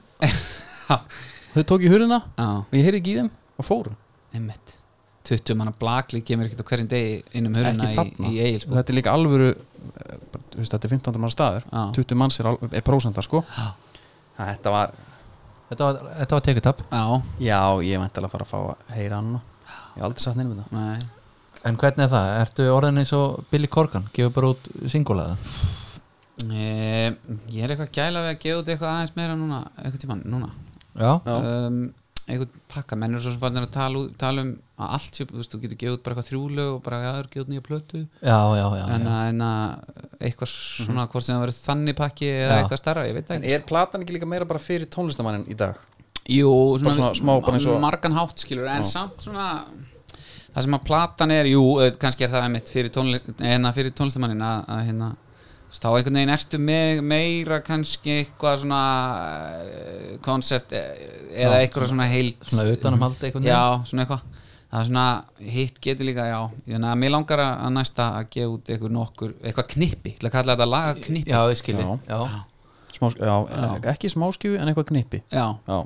A: þau tók í hurðina
B: Já,
A: og ég heyrði ekki í þeim og fóru
B: einmitt 20 manna blaklið kemur ekkert á hverjum degi inn um höruna
A: Ekki
B: í,
A: þarna.
B: í sko.
A: og
B: Egilsbúð
A: Sko, þetta er líka alvöru eh, bara, þú veist, þetta er 15. mann staður
B: Já.
A: 20 manns er, al- er prósendar sko Æ, þetta var,
C: Þetta var, þetta var tekutap
B: Já,
A: já ég vænti að fara að fá að heyra hann ég hef aldrei sagt neina við það
B: nei
C: En hvernig er það? Ertu orðin eins og Billy Corgan? Gefur bara út singulaða
B: e, Ég er eitthvað gæla við að gefa út eitthvað aðeins meira núna eitthvað tíma núna
C: Já,
A: Já.
B: um, einhvern pakka, menn eru svo sem farnir að tala, út- tala um að allt sé, þú veist, þú getur gefið út bara eitthvað þrjúlög og bara aður gefið út nýja plötu
C: já, já, já,
B: en
C: já.
B: að, en að eitthvað svona hvort sem það verið þannig pakki eða
C: Já.
B: eitthvað starra, ég veit það
A: En
B: ekki
A: er platan ekki líka meira bara fyrir tónlistamannin í dag?
B: Jú, svona,
A: svona smá, bara eins og-
B: margan hátt skilur, en samt svona það sem að platan er, jú, auðvitað, kannski er það einmitt fyrir, tónli, hérna, fyrir tónlistamannin að, að hérna þú veist, þá einhvern veginn ertu með, meira kannski eitthvað svona koncept eða eitthvað svona heilt
C: svona utanumhald einhvern veginn.
B: já, svona eitthvað það er svona, hitt getur líka, já þannig að mér langar að að næsta að gefa út eitthvað nokkur, eitthvað knippi, til að kalla þetta lagaknippi
C: já, ég skilji
A: Já.
C: já.
A: Smá, já, ekki smáskjúi en eitthvað knipi
B: já,
A: Já,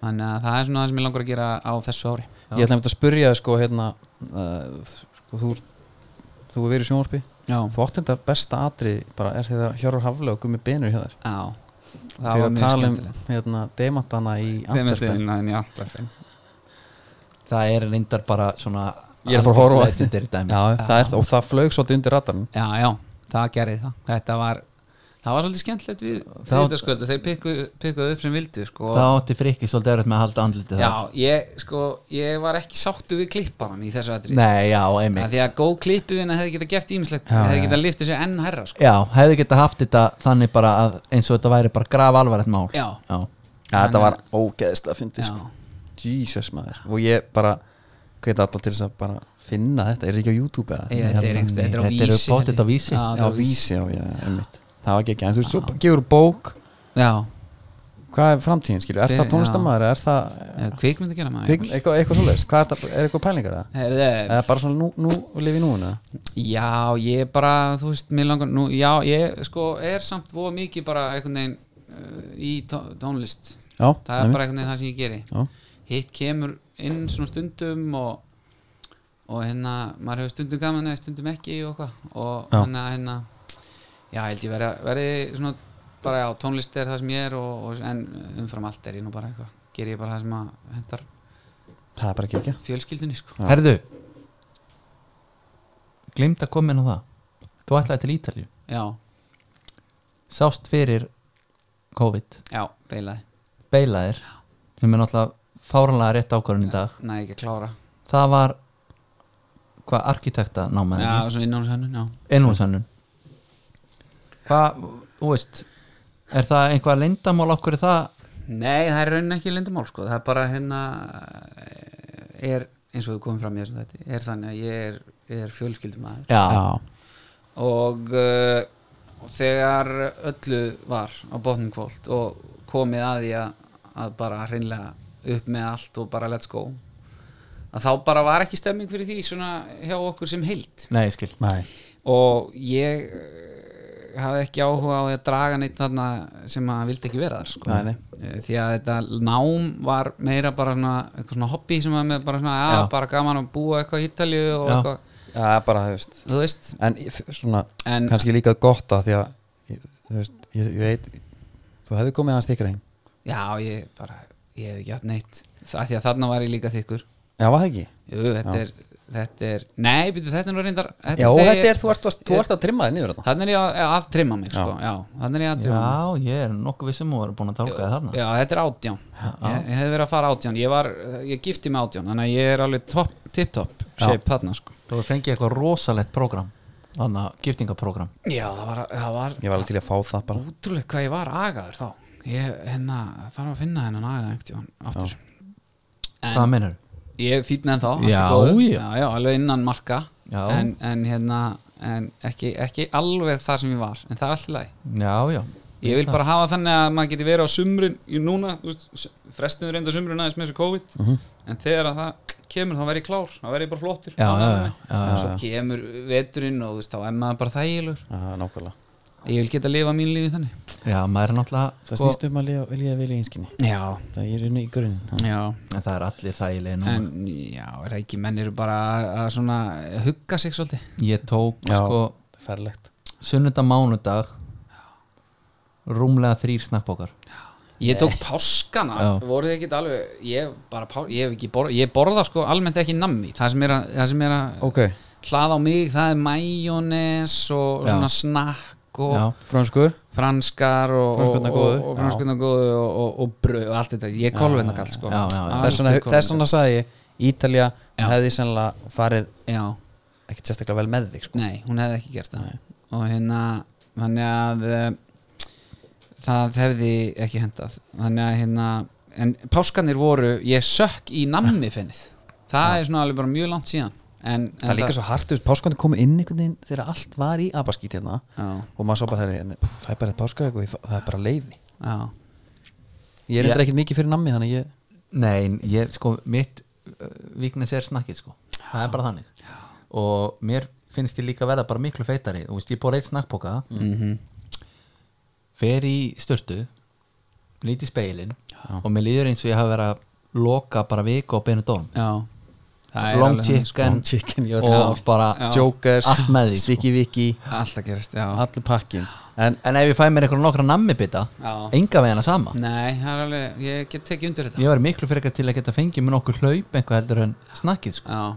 B: þannig að það er svona það sem ég langar að gera á þessu ári
A: ég ætla einmitt að spyrja þig, sko, hérna, uh, sko þú, þú er verið í sjónvarpi
B: já,
A: þú átt þetta besta atrið bara er þegar Hjörur Hafle og Gummi Benur hjá þér
B: já það
A: þegar
B: var
A: að
B: mjög
A: tala um
B: skemmtilegt
A: hérna, demantana í Antwerpen
B: Dementiðin, en í Antwerpen.
C: það er reyndar bara svona
A: Ég er að fara að horfa á þetta.
C: þetta
A: Já, það er, og það flög svolítið undir ratarn
B: já, já, það gerði það þetta var, það var svolítið skemmtilegt við þriðdagsköld þeir pikkuðu pikkuðu upp sem vildu sko.
C: þá átti frikki svolítið erfitt með að halda andlitið
B: já, ég, sko, ég var ekki sáttu við klipparan í þessu
C: þar
B: aðri
C: nei, já,
B: að
C: einmitt
B: því að góð klippivinna hefði geta gert ímislegt
A: Já,
B: hefði
A: já.
B: geta liftið sér enn herra sko.
C: já, hefði geta haft þetta þannig bara að, eins og þetta væri bara graf alvarlegt mál
B: já,
C: já,
A: Já, þetta var ógeðslega fyndið
B: já,
A: sko. Jesus maður og ég bara hveit alltaf til þess að bara finna þetta er þetta ekki á YouTube eða?
B: Ég- þetta er einhvers- þetta er á
C: Þetta eru
B: vísi
C: pottþétt
B: held
A: já,
C: á Vísi.
B: ég. já, þetta er á vísi
A: vísi, já, já, einmitt það var ekki ekki, en þú veist, þú gefur bók
B: já,
A: hvað er framtíðin, skilju, er
B: Fyrir-
A: það tónlistamæður er það,
B: kvikmynd að gera maður
A: kvikmynd- eitthvað, eitthvað svoleiðis hvað er, það, er eitthvað pælingar það?
B: Herðu,
A: eða bara svona nú, nú og lifi núna
B: já, ég bara, þú veist, mér langar nú, já, ég sko er samt voða mikið bara einhvern veginn uh, í tó- tónlist
A: já,
B: það er bara einhvern veginn það sem ég geri
A: já,
B: hitt kemur inn svona stundum og, og hérna maður hefur stundum gaman eða stundum ekki og hvað og
A: Já.
B: hérna, hérna já, held ég verið, verið svona bara á tónlist er það sem ég er og, og, en umfram allt er ég nú bara eitthvað ger ég bara það sem að hendar
A: það er bara ekki ekki
B: fjölskyldinni sko
A: Já.
C: herðu glimt að koma inn á það þú ætlaði til Ítalju
B: já,
C: sást fyrir COVID
B: já, beilaði,
C: beilaðir sem er náttúrulega fáranlega rétt ákvörðun í dag
B: næði ekki að klára
C: það var hvað arkitekta námaði
B: já, svona innánshönnun, já
C: innvóðsönnun hvað, þú veist er það einhvað leyndamál okkur það
B: Nei, það er raunin ekki lindamál sko. það er bara hérna eh, er, eins og við komum fram í þessum þetta er þannig að ég er, er fjölskyldumæður
C: já,
A: já,
B: og uh, þegar öllu var á botnum kvólt og komið að því að, að bara hreinlega upp með allt og bara let's go að þá bara var ekki stemming fyrir því svona hjá okkur sem heilt
C: nei, ég skil
A: næ,
B: og ég eh, hafði ekki áhuga á því að draga neitt þarna sem að vildi ekki vera þar sko.
A: Nei, nei.
B: Eh, því að þetta nám var meira bara svona, eitthvað svona hobby sem var með bara svona, já,
C: Já.
B: bara gaman að búa eitthvað í Ítalju og
C: Já.
B: eitthvað,
A: það er bara, þú veist
B: þú veist
A: en ég- f- svona,
B: En-
A: kannski líka gott að því að, ég- þú veist, ég, ég veit þú hefði komið aðeins þykra heim
B: já, ég bara, ég hef ekki hatt neitt það því að þarna var ég líka þykkur
A: já, var það ekki?
B: jú, þetta er, þetta er nei, byrju, þetta er nú reyndar
A: já,
B: þegar
A: þetta
B: ég-
A: er, þú ert, að- þú ert að trimma þig niður þarna
B: þarna er ég að, að trimma mig, sko, já, þarna er ég að trimma mig
C: já, ég er nokkuð vissum og er búin að tálka það þarna
B: Já, þetta er átján Ég, ég hef verið að fara átján Ég, var, ég gifti með átján Þannig að ég er alveg top, tip-top shape þarna sko
C: þú hefur fengið eitthvað rosalegt prógram þarna, giftingaprogram
B: Já, það var, það var
A: ég var alveg til í að fá það bara
B: útrúlega hvað ég var agaður þá Ég hérna, þarf að finna hennan agaða einhvern tímann aftur
C: hvað meinar
B: Ég fýtna en þá allt í
C: Já,
B: góðu.
C: já.
B: já, já, alveg innan marka
C: Já.
B: en, en hérna en ekki, ekki alveg þar sem ég var En það er alltaf læg
C: já, já,
B: Ég vil bara hafa þannig að maður geti verið á sumrin í núna, þú veist, frestinu reynda sumrin aðeins með þessu COVID en þegar að það kemur þá verð ég klár, þá verð ég bara flottur
C: Mhm. Já, já, já, já,
B: En svo kemur veturinn og þú veist, þá er maður bara þægilegur
A: já, nákvæmlega
B: ég vil geta að lifa mín lífi þannig
C: já, maður er náttúrulega
A: það
C: sko,
A: snýst um að lifa- vilja vel í einskinni
B: Já,
A: það er unni í grunin
B: já
C: en það er allir þægilega núna
B: en já, er það ekki menn eru bara að- að svona hugga sig svolítið
C: ég tók
A: Já.
C: sko
A: ferlegt
C: sunnudag mánudag rúmlega þrýr snappbókar
B: Ég tók páskana,
C: Já.
B: voru þið ekki alveg ég, bara, pá- ég, hef ekki borða, ég borða sko almennt ekki nammi, það sem er að, það sem er að
A: ok,
B: hlað á mig, það er majónes og
C: Já.
B: svona snakk sokk og
C: Já.
A: franskur
B: franskar og, og,
A: Franskurnar góðu.
B: og, og franskunna góðu og, og, og bröð og allt þetta, ég er kolvinna kall sko.
C: Já, já, já.
B: Algjör
A: þess vegna þess
B: kolvetnakall.
A: vegna sagði ég Ítalja
B: Já.
A: hefði sennilega farið
B: já,
A: ekkert sérstaklega vel með þig sko.
B: Nei, hún hefði ekki gert það og hérna, þannig að eh, það hefði ekki hendað þannig að hérna, en páskanir voru ég sökk í nammifinnið það er svona alveg bara mjög langt síðan en, en
A: það er líka svo hart, þú veist, páskandi kom inn einhvern veginn þegar allt var í abaskít hérna
B: já,
A: og maður svo bara, herri, en það er bara eitt páskaegg og ég fæ- það er bara leiði
B: já,
A: ég er
C: Ég-
A: eitthvað ekkert mikið fyrir nammi þannig að ég
C: Nei, ég, sko, mitt uh, viknes er snakkið, sko Það er bara þannig Og mér finnst ég líka verða bara miklu feitari Þú veist, ég bóra eitt snakkpoka Fer í störtu Lít í speilin Og mér líður eins og ég hafi verið að loka bara viku á beinu dóm
B: já Það er
C: Long
B: alveg þannig, sko.
C: chicken,
A: Long chicken, ég var að
C: og
A: segja.
C: bara
B: Já.
A: Jokers,
C: Allt með því, sko.
A: Sticky Vicky
B: Alltaf gerist, já
A: allir pakkin en
C: En ef ég fæ mér einhverjum nokkra nammi bita
B: Já.
C: Enga veginn að sama
B: Nei, það er alveg, ég get tekið undir þetta
C: Ég var miklu frekar til að geta fengið mér nokkuð hlaup einhver heldur en snakkið sko.
B: Já,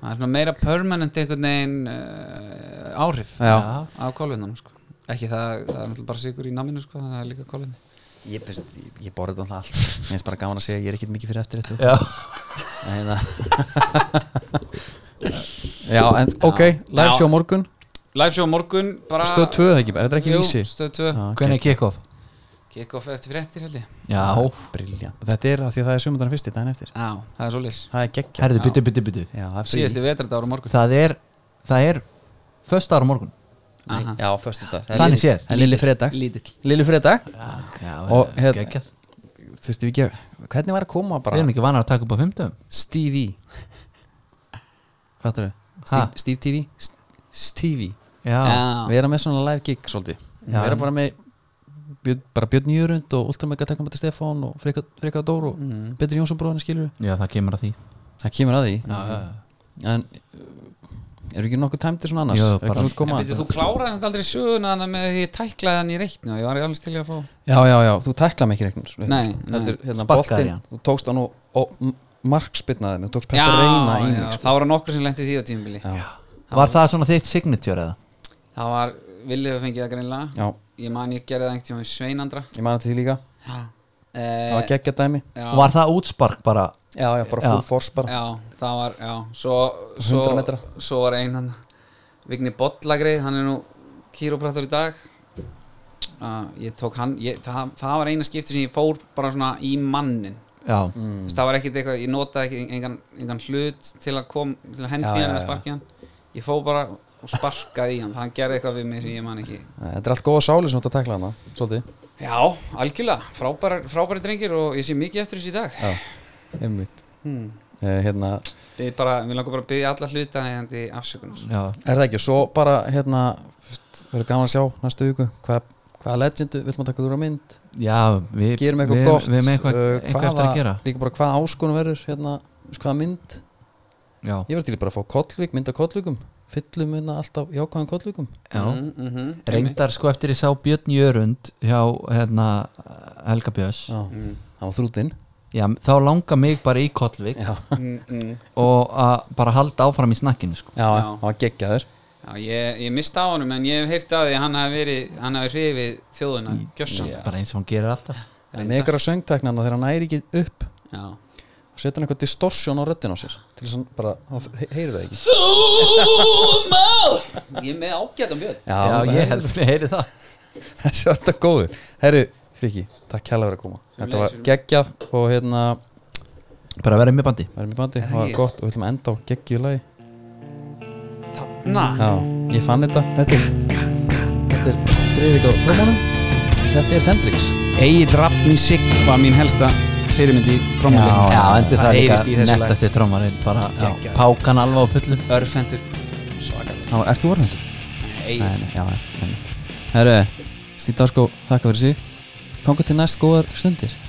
B: það er svona meira permanent einhvern veginn uh, áhrif
A: Já.
B: af kolvinnanum sko. ekki það, það er náttúrulega bara sigur í naminu sko, það er líka kolvinni
A: ég, þú veist, ég, ég borði þetta alltaf allt mér finnst bara gaman að segja að ég er ekkert mikið fyrir eftir þetta uh,
C: Já,
A: já, en ok, live
B: Já.
A: show á morgun
B: Live show á morgun bara
A: stöð 2 eða ekki, er þetta ekki
B: Jú,
A: vísi?
B: Stöð 2
A: Já,
C: hvernig er kickoff?
B: Kickoff eftir fréttir held ég
C: Já,
A: briljant Ah, og þetta er það því að það er sumundana fyrsti daginn eftir
B: Já, það er svolítið
A: það er geggja
C: herðu, byttu, byttu, byttu
A: já, það er frí
B: Síðasti vetrardagur á morgun
C: Það er, það er Föst ára morgun
A: Nei, já, förstu dag
C: Þannig séð.
A: það er lilli fredag
B: Lítill
A: lilli fredag
C: Já,
A: Og
C: eh,
A: hér-
C: geggjað.
A: þú veist ekki hvernig var að koma
C: Við
A: bara
C: erum ekki vanar að taka upp á fimmtum
A: Stevie fattur
C: Ha?
A: þau? Steve TV? St- Stevie
C: Já,
A: við erum með svona live gig svolítið
C: Já.
A: við erum bara með björn, bara Björn Jörund og Ultramega Tekkamata Stefán og Freyka, Freyka Dór og
B: Mm.
A: Betri Jónsson bróðinu skilur
C: já það kemur að því
A: það kemur að því
C: já, já.
A: en uh, eru ekki nokkuð tæmdi svona annars?
C: Jú,
A: Er ekki
C: bara-
A: nokkuð koma
B: En
A: að
B: byrju,
A: þetta?
B: þú kláraði þetta aldrei söguna þannig með því ég tæklaði hann í reikni og ég var alveg til í að fá
A: já, já, já, þú tækla mig ekki regnur
B: Nei,
A: Heldur, hérna,
C: Sparkaðir í
A: boltinn,
C: hann.
A: þú tókst hann og, og markspinnaði mig, þú tókst Petter Reyna í mig sko.
B: það voru nokkur sem lenti í því á tímbili
A: já,
C: Var það svona þitt signature eða?
B: Það var, Villi hefur fengið það greinlega
A: já,
B: Ég man ég gerði það einhvern tíma í Sveinandra
A: ég man þetta því líka það var
B: eh,
A: geggja dæmi
B: já,
C: Var það útspark bara?
A: já, já, bara
C: Já.
A: full force bara
B: já, það var, já Svo,
A: 100
B: svo,
A: metra.
B: svo var einan Vigni Bollagrið, hann er nú kýróprættur í dag uh, Ég tók hann ég, það, það var eina skipti sem ég fór bara svona í mannin
C: Já,
B: mm. Það var ekkit eitthvað, ég notaði ekki engan, engan hlut til að kom til að hendi
A: Já,
B: hann
A: já,
B: eða
A: já.
B: sparki hann Ég fór bara og sparkaði í hann Hann gerði eitthvað við mig sem ég man ekki
A: Eh, þetta er allt góða sáli sem þú ert að tækla hana svolítið
B: Já, algjörlega, frábæri, frábæri drengir og ég sé mikið eftir þessu í dag
A: Já, einmitt eh, Hérna,
B: Við bara, við langar bara að byggja alla hluta eðandi afsökunar
C: já,
A: er það ekki, svo bara hérna, fyrst, verður gaman að sjá næstu viku hvað hvaða legendu, vill maður taka úr á mynd
C: já við,
A: gerum eitthvað
C: við,
A: gott
C: Við erum eitthvað,
A: eh,
C: eitthvað eftir að gera
A: líka bara hvaða áskonum verður hérna, þú veist, hvaða mynd
C: Já,
A: ég verður til í bara að fá kollvík, mynd af kollvíkum fyllum hérna alltaf jákvæðan kollvíkum
C: já
B: mm, mm -hmm.
C: Reyndar sko eftir ég sá Björn Jörund hjá hérna, Helga Björns
A: já, það var þrútin
C: já, þá langar mig bara í Kollvik
A: já,
B: mm, mm.
C: og að bara halda áfram í snakkinu sko.
A: já, það var geggjaður
B: Já, ég, ég mista á honum en ég hef heyrt að því að hann hafi verið hann hafi hrifið þjóðuna,
A: Mm,
B: gjössan yeah.
C: bara eins og hann gerir alltaf
A: en með ykkur að söngtæknana þegar hann næri ekki upp
B: Já,
A: og setja hann eitthvað distortion á röddin á sér til þess að hann bara, þá he- heyrið það ekki
B: ég er með ágætan björn
A: já,
C: já,
A: bara-
C: ég held að ég heyri það
A: þessi var þetta góður herri, Friki, takk kjæla fyrir að koma þetta var geggjað og hérna
C: bara verið með bandi
A: verðum í bandi,
B: Er það
A: það var
B: ekki?
A: gott og við ætlum að enda á geggju lagi
B: Þarna,
A: já, ég fann þetta, þetta er þetta er Friðrik á trómónum þetta er Fendrix
B: Egil Rappni Sigg var mín helsta fyrirmyndi
A: Já,
C: já, endur það líka
B: heyrist í þessu lag
C: nettasti trómarinn bara
B: Geggjað.
C: pákan alveg á fullu
B: Örfendur Svakar
A: já, ert þú orðhendur?
B: Egil,
A: nei, já, já, já herri, Stíð Darsko, þakka fyrir sig þanga til næst góðar stundir